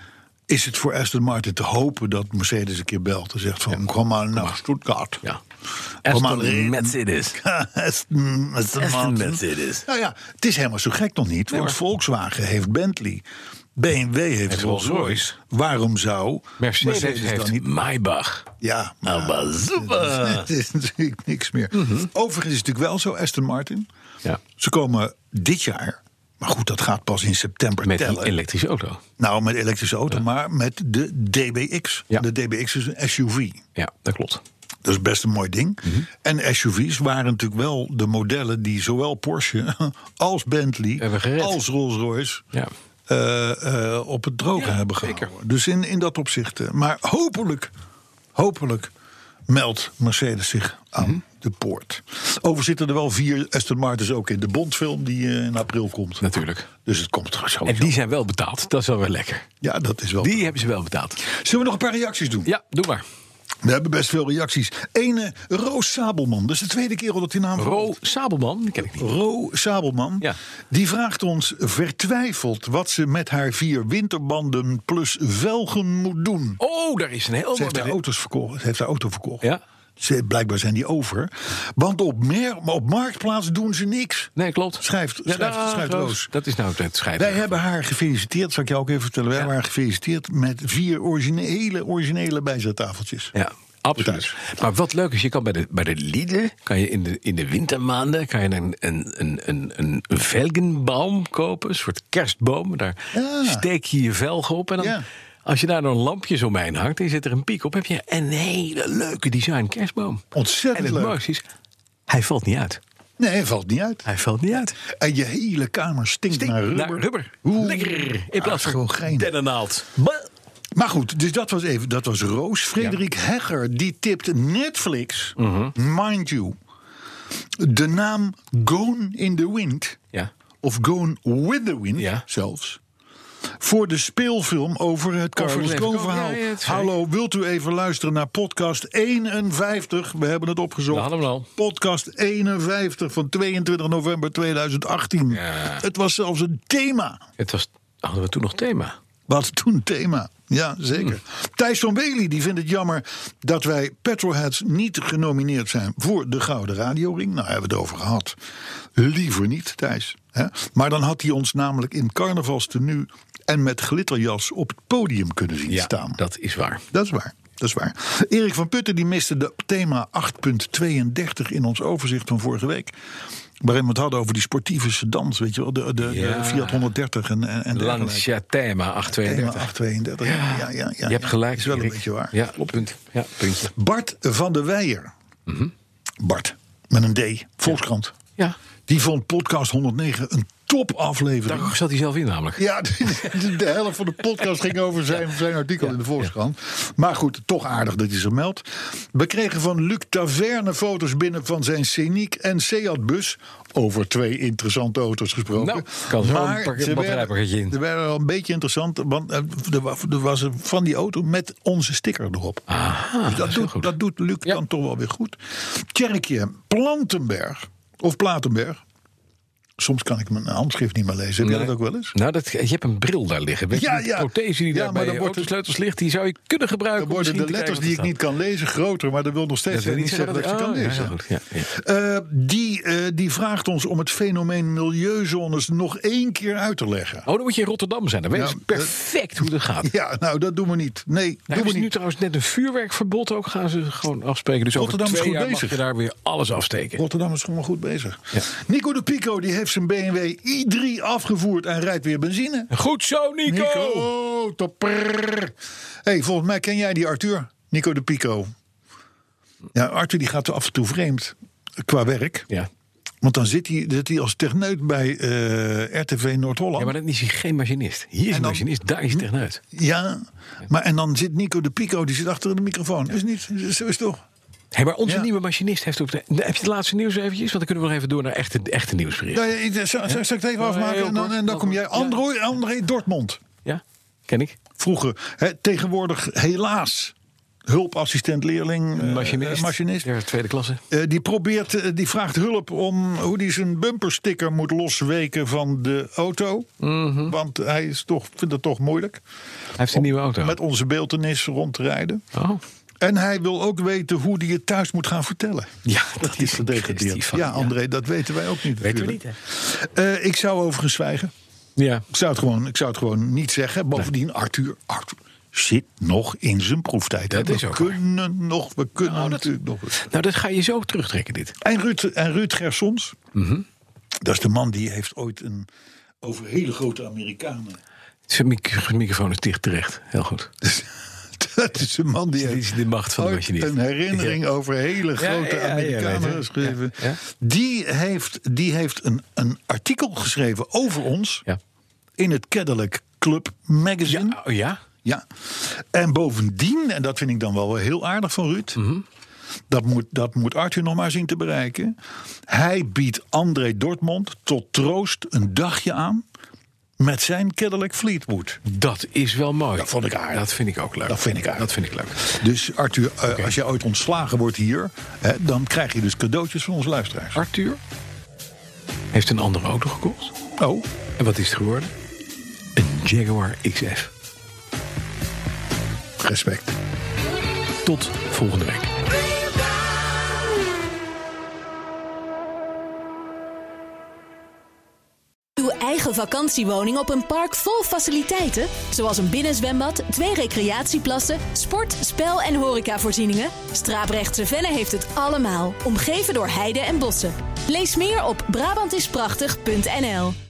Speaker 6: is het voor Aston Martin te hopen dat Mercedes een keer belt en zegt van kom maar naar Stuttgart.
Speaker 3: Ja.
Speaker 6: Kom maar erin.
Speaker 3: Mercedes.
Speaker 6: *laughs* Aston, Aston
Speaker 3: Aston
Speaker 6: Martin.
Speaker 3: Mercedes.
Speaker 6: Nou ja, het is helemaal zo gek nog niet. Want
Speaker 3: maar-
Speaker 6: Volkswagen heeft Bentley. BMW heeft Rolls-Royce.
Speaker 3: Rolls-Royce.
Speaker 6: Waarom zou
Speaker 3: Mercedes, heeft Nou,
Speaker 6: dan niet?
Speaker 3: Maybach.
Speaker 6: Ja, maar
Speaker 3: Alba Zuba.
Speaker 6: het is natuurlijk niks meer.
Speaker 3: Mhm.
Speaker 6: Overigens is het natuurlijk wel zo, Aston Martin.
Speaker 3: Ja.
Speaker 6: Ze komen dit jaar, maar goed, dat gaat pas in september
Speaker 3: Met die
Speaker 6: tellen.
Speaker 3: elektrische auto.
Speaker 6: nou, met elektrische auto, maar met de DBX.
Speaker 3: Ja.
Speaker 6: De DBX is een SUV.
Speaker 3: Ja, dat klopt.
Speaker 6: Dat is best een mooi ding.
Speaker 3: Mhm.
Speaker 6: En SUV's waren natuurlijk wel de modellen die zowel Porsche *laughs* als Bentley
Speaker 3: Hebben gered.
Speaker 6: als Rolls-Royce
Speaker 3: Ja.
Speaker 6: eh, eh, op het droge hebben gehouden. Dus in, in dat opzicht. eh, maar hopelijk, hopelijk meldt Mercedes zich aan
Speaker 3: Mhm.
Speaker 6: de poort. Over zitten er wel vier Aston Martins ook in de Bondfilm die eh, in april komt.
Speaker 3: Natuurlijk.
Speaker 6: Dus het komt er zo.
Speaker 3: En die zijn wel betaald. Dat is wel weer lekker.
Speaker 6: Ja, dat is wel.
Speaker 3: Die hebben ze wel betaald.
Speaker 6: Zullen we nog een paar reacties doen?
Speaker 3: Ja, doe maar.
Speaker 6: We hebben best veel reacties. Ene Roos Sabelman, dat is de tweede keer al dat die naam
Speaker 3: Ro Sabelman, die ken ik niet.
Speaker 6: Ro Sabelman,
Speaker 3: Ja.
Speaker 6: die vraagt ons vertwijfeld wat ze met haar vier winterbanden plus velgen moet doen.
Speaker 3: Oh, daar is een heel
Speaker 6: Ze heeft
Speaker 3: mooi-
Speaker 6: haar,
Speaker 3: Oh,
Speaker 6: auto's verkocht, ze heeft haar auto verkocht.
Speaker 3: Ja.
Speaker 6: Ze, blijkbaar zijn die over. Want op, meer, op marktplaats doen ze niks.
Speaker 3: Nee, klopt.
Speaker 6: Schrijft- schrijft-
Speaker 3: daar,
Speaker 6: schrijft
Speaker 3: Roos.
Speaker 6: Roos.
Speaker 3: Dat is nou het schrijven.
Speaker 6: Wij hebben haar gefeliciteerd, zal ik jou ook even vertellen. Wij hebben haar gefeliciteerd met vier originele, originele bijzettafeltjes.
Speaker 3: Ja, absoluut.
Speaker 6: Thuis.
Speaker 3: Maar wat leuk is, je kan bij de, bij de Lidl, kan je in de, in de wintermaanden kan je een, een, een, een, een velgenboom kopen, een soort kerstboom. Daar
Speaker 6: Ja.
Speaker 3: steek je je velgen op en dan...
Speaker 6: Ja.
Speaker 3: Als je daar dan lampjes omheen hangt en je zet er een piek op, heb je een hele leuke design kerstboom.
Speaker 6: Ontzettend
Speaker 3: En het
Speaker 6: leuk.
Speaker 3: mooiste is, hij valt niet uit.
Speaker 6: Nee, valt niet uit.
Speaker 3: Hij valt niet uit.
Speaker 6: En je hele kamer stinkt, naar nou rubber.
Speaker 3: Naar rubber.
Speaker 6: Oeh.
Speaker 3: Lekker. In
Speaker 6: Ah,
Speaker 3: plaats van
Speaker 6: gewoon geen.
Speaker 3: dennennaald.
Speaker 6: Maar goed, dus dat was even. Dat was Roos. Frederik Hegger, die tipt Netflix.
Speaker 3: Mhm.
Speaker 6: Mind you. De naam Gone in the Wind.
Speaker 3: Ja.
Speaker 6: Of Gone with the Wind
Speaker 3: Ja.
Speaker 6: zelfs. Voor de speelfilm over het Carlos
Speaker 3: het
Speaker 6: Kroon
Speaker 3: leven.
Speaker 6: verhaal.
Speaker 3: Ja, ja, het is
Speaker 6: Hallo, wilt u even luisteren naar podcast 51? We hebben het opgezocht.
Speaker 3: We hadden hem al.
Speaker 6: Podcast 51 van 22 november 2018. Het was zelfs een thema.
Speaker 3: Het was, hadden we toen nog thema.
Speaker 6: Wat toen een *laughs* thema. Ja, zeker.
Speaker 3: Hm.
Speaker 6: Thijs van Wely die vindt het jammer dat wij Petrolheads niet genomineerd zijn voor de Gouden Radioring. Nou, hebben we het over gehad. Liever niet, Thijs. Hè? Maar dan had hij ons namelijk in carnavalstenu en met glitterjas op het podium kunnen zien staan.
Speaker 3: dat is waar.
Speaker 6: Dat is waar. Dat is waar. Erik van Putten die miste de thema 8.32 in ons overzicht van vorige week. Waarin we het hadden over die sportieve sedans, weet je wel, de, de, de
Speaker 3: Ja.
Speaker 6: Fiat 130 en, en, en dergelijke.
Speaker 3: Lancia thema 832.
Speaker 6: Thema 832. Ja, ja, ja, ja.
Speaker 3: je hebt gelijk.
Speaker 6: Is wel
Speaker 3: Erik.
Speaker 6: een beetje waar.
Speaker 3: Ja, punt. Ja, puntje.
Speaker 6: Bart van der Weijer. Bart, met een D, Volkskrant.
Speaker 3: Mhm. Ja.
Speaker 6: Die vond podcast 109 een topaflevering.
Speaker 3: Daar zat hij zelf in namelijk.
Speaker 6: Ja, *laughs* de, de- de helft van de podcast ging over zijn, zijn artikel in de Volkskrant. Maar goed, toch aardig dat hij zich meldt. We kregen van Luc Taverne foto's binnen van zijn Scenic en Seat-bus. Over twee interessante auto's gesproken.
Speaker 3: Nou, kan zo'n pak-
Speaker 6: ze
Speaker 3: batterijpakketje in.
Speaker 6: werden, ze werden wel een beetje interessant, want eh, er wa- er was een van die auto met onze sticker erop.
Speaker 3: Ah,
Speaker 6: Dus dat, doet, dat doet Luc dan toch wel weer goed. Tjerkje Plantenberg, of Platenberg. Soms kan ik mijn handschrift niet meer lezen. Heb jij dat ook wel eens?
Speaker 3: Nou, dat, je hebt een bril daar liggen. Weet je,
Speaker 6: Ja,
Speaker 3: die
Speaker 6: ja.
Speaker 3: prothese die
Speaker 6: Ja,
Speaker 3: daar
Speaker 6: maar
Speaker 3: bij
Speaker 6: dan
Speaker 3: je
Speaker 6: wordt het-
Speaker 3: autosleutels ligt, die zou je kunnen gebruiken.
Speaker 6: Dan worden
Speaker 3: om
Speaker 6: de
Speaker 3: misschien te
Speaker 6: letters die ik
Speaker 3: kijken
Speaker 6: niet kan lezen groter, maar dat wil nog steeds
Speaker 3: wil
Speaker 6: niet zeggen dat je kan
Speaker 3: oh, ja,
Speaker 6: lezen.
Speaker 3: goed, ja, ja.
Speaker 6: Eh, die, eh, die vraagt ons om het fenomeen milieuzones nog één keer uit te leggen.
Speaker 3: Oh, dan moet je in Rotterdam zijn. Dan weet
Speaker 6: Ja,
Speaker 3: je perfect hoe dat gaat.
Speaker 6: Ja, nou, dat doen we niet. Nee,
Speaker 3: Daar
Speaker 6: doen
Speaker 3: hebben
Speaker 6: we
Speaker 3: ze
Speaker 6: niet.
Speaker 3: nu trouwens net een vuurwerkverbod ook. Gaan ze gewoon afspreken. Dus
Speaker 6: Rotterdam is
Speaker 3: over twee
Speaker 6: goed
Speaker 3: jaar mag
Speaker 6: bezig.
Speaker 3: je daar weer alles afsteken.
Speaker 6: Rotterdam is gewoon goed bezig. Nico de Pico die heeft zijn BMW i3 afgevoerd en rijdt weer benzine.
Speaker 3: Goed zo, Nico!
Speaker 6: Nico, topper. hey, volgens mij ken jij die Arthur, Nico de Pico. Ja, Arthur die gaat af en toe vreemd qua werk.
Speaker 3: Ja.
Speaker 6: Want dan zit hij, zit hij als techneut bij eh, RTV Noord-Holland.
Speaker 3: ja,
Speaker 6: Ja
Speaker 3: maar
Speaker 6: maar,
Speaker 3: dan is hij geen machinist. Hier is een
Speaker 6: dan-
Speaker 3: machinist, daar is hij techneut.
Speaker 6: en dan zit Nico de Pico, die zit achter de microfoon. Is niet, is- zo is toch?
Speaker 3: Hé, maar onze
Speaker 6: Ja.
Speaker 3: nieuwe machinist heeft ook... de- heb je het laatste nieuws eventjes? Want dan kunnen we nog even door naar echte, echte nieuwsberichten.
Speaker 6: Ja, ja, Nou, ik- zal, zal- zal ik het even
Speaker 3: Ja,
Speaker 6: afmaken?
Speaker 3: heel
Speaker 6: En dan,
Speaker 3: kort,
Speaker 6: en dan
Speaker 3: heel
Speaker 6: kom
Speaker 3: kort.
Speaker 6: jij. André, André Dortmund.
Speaker 3: Ja? Ken
Speaker 6: Eh,
Speaker 3: ik?
Speaker 6: Vroeger, hè, tegenwoordig helaas, hulpassistent, leerling, eh,
Speaker 3: Machinist.
Speaker 6: eh, machinist.
Speaker 3: Ja, tweede klasse.
Speaker 6: Eh, die, probeert, eh, die vraagt hulp om hoe hij zijn bumpersticker moet losweken van de auto.
Speaker 3: Mhm.
Speaker 6: Want hij is toch, vindt het toch moeilijk
Speaker 3: Hij heeft een nieuwe auto.
Speaker 6: met onze beeldenis rond te rijden.
Speaker 3: Oh.
Speaker 6: En hij wil ook weten hoe hij het thuis moet gaan vertellen.
Speaker 3: Ja, dat
Speaker 6: Die
Speaker 3: is een kwestie
Speaker 6: gedegradeerd.
Speaker 3: van...
Speaker 6: Ja, André, dat weten wij ook niet.
Speaker 3: Weten we
Speaker 6: natuurlijk. Eh, ik zou overigens zwijgen.
Speaker 3: Ja.
Speaker 6: Ik zou het gewoon, ik zou het gewoon niet zeggen. Bovendien, Arthur, Arthur zit nog in zijn proeftijd. hè.
Speaker 3: Dat is
Speaker 6: we
Speaker 3: ook waar.
Speaker 6: kunnen nog, we kunnen natuurlijk nog.
Speaker 3: Nou, dat ga je zo terugtrekken, dit.
Speaker 6: En Ruud, en Ruud Gersons,
Speaker 3: Mhm.
Speaker 6: dat is de man die heeft ooit een over hele grote Amerikanen.
Speaker 3: Zijn mic- microfoon is dicht terecht. Heel goed.
Speaker 6: Dus *laughs* Dat is de man die
Speaker 3: Dit is
Speaker 6: heeft
Speaker 3: de macht van de
Speaker 6: ooit
Speaker 3: machinist.
Speaker 6: een herinnering over hele grote
Speaker 3: ja, ja, weet
Speaker 6: Amerikanen
Speaker 3: het.
Speaker 6: geschreven.
Speaker 3: Ja, ja.
Speaker 6: Die heeft, die heeft een, een artikel geschreven over ons
Speaker 3: Ja.
Speaker 6: in het Cadillac Club magazine.
Speaker 3: Ja, oh ja? Mhm.
Speaker 6: Ja. En bovendien, en dat vind ik dan wel heel aardig van Ruud. Dat moet, dat moet Arthur nog maar zien te bereiken. Hij biedt André Dortmund tot troost een dagje aan met zijn Cadillac Fleetwood.
Speaker 3: Dat is wel mooi.
Speaker 6: Dat vond ik aardig.
Speaker 3: Dat vind ik ook leuk.
Speaker 6: Dat vind ik aardig.
Speaker 3: Dat vind ik leuk.
Speaker 6: Dus Arthur, eh, als je ooit ontslagen wordt hier, hè, dan krijg je dus cadeautjes van onze luisteraars.
Speaker 3: Arthur heeft een andere auto gekocht.
Speaker 6: Oh,
Speaker 3: En wat is het geworden? Een Jaguar XF.
Speaker 6: respect.
Speaker 3: Tot volgende week.
Speaker 1: Uw eigen vakantiewoning op een park vol faciliteiten, zoals een binnenzwembad, twee recreatieplassen, sport, spel en horecavoorzieningen. Straaprechtse Venne heeft het allemaal, omgeven door heide en bossen. Lees meer op Brabantisprachtig.nl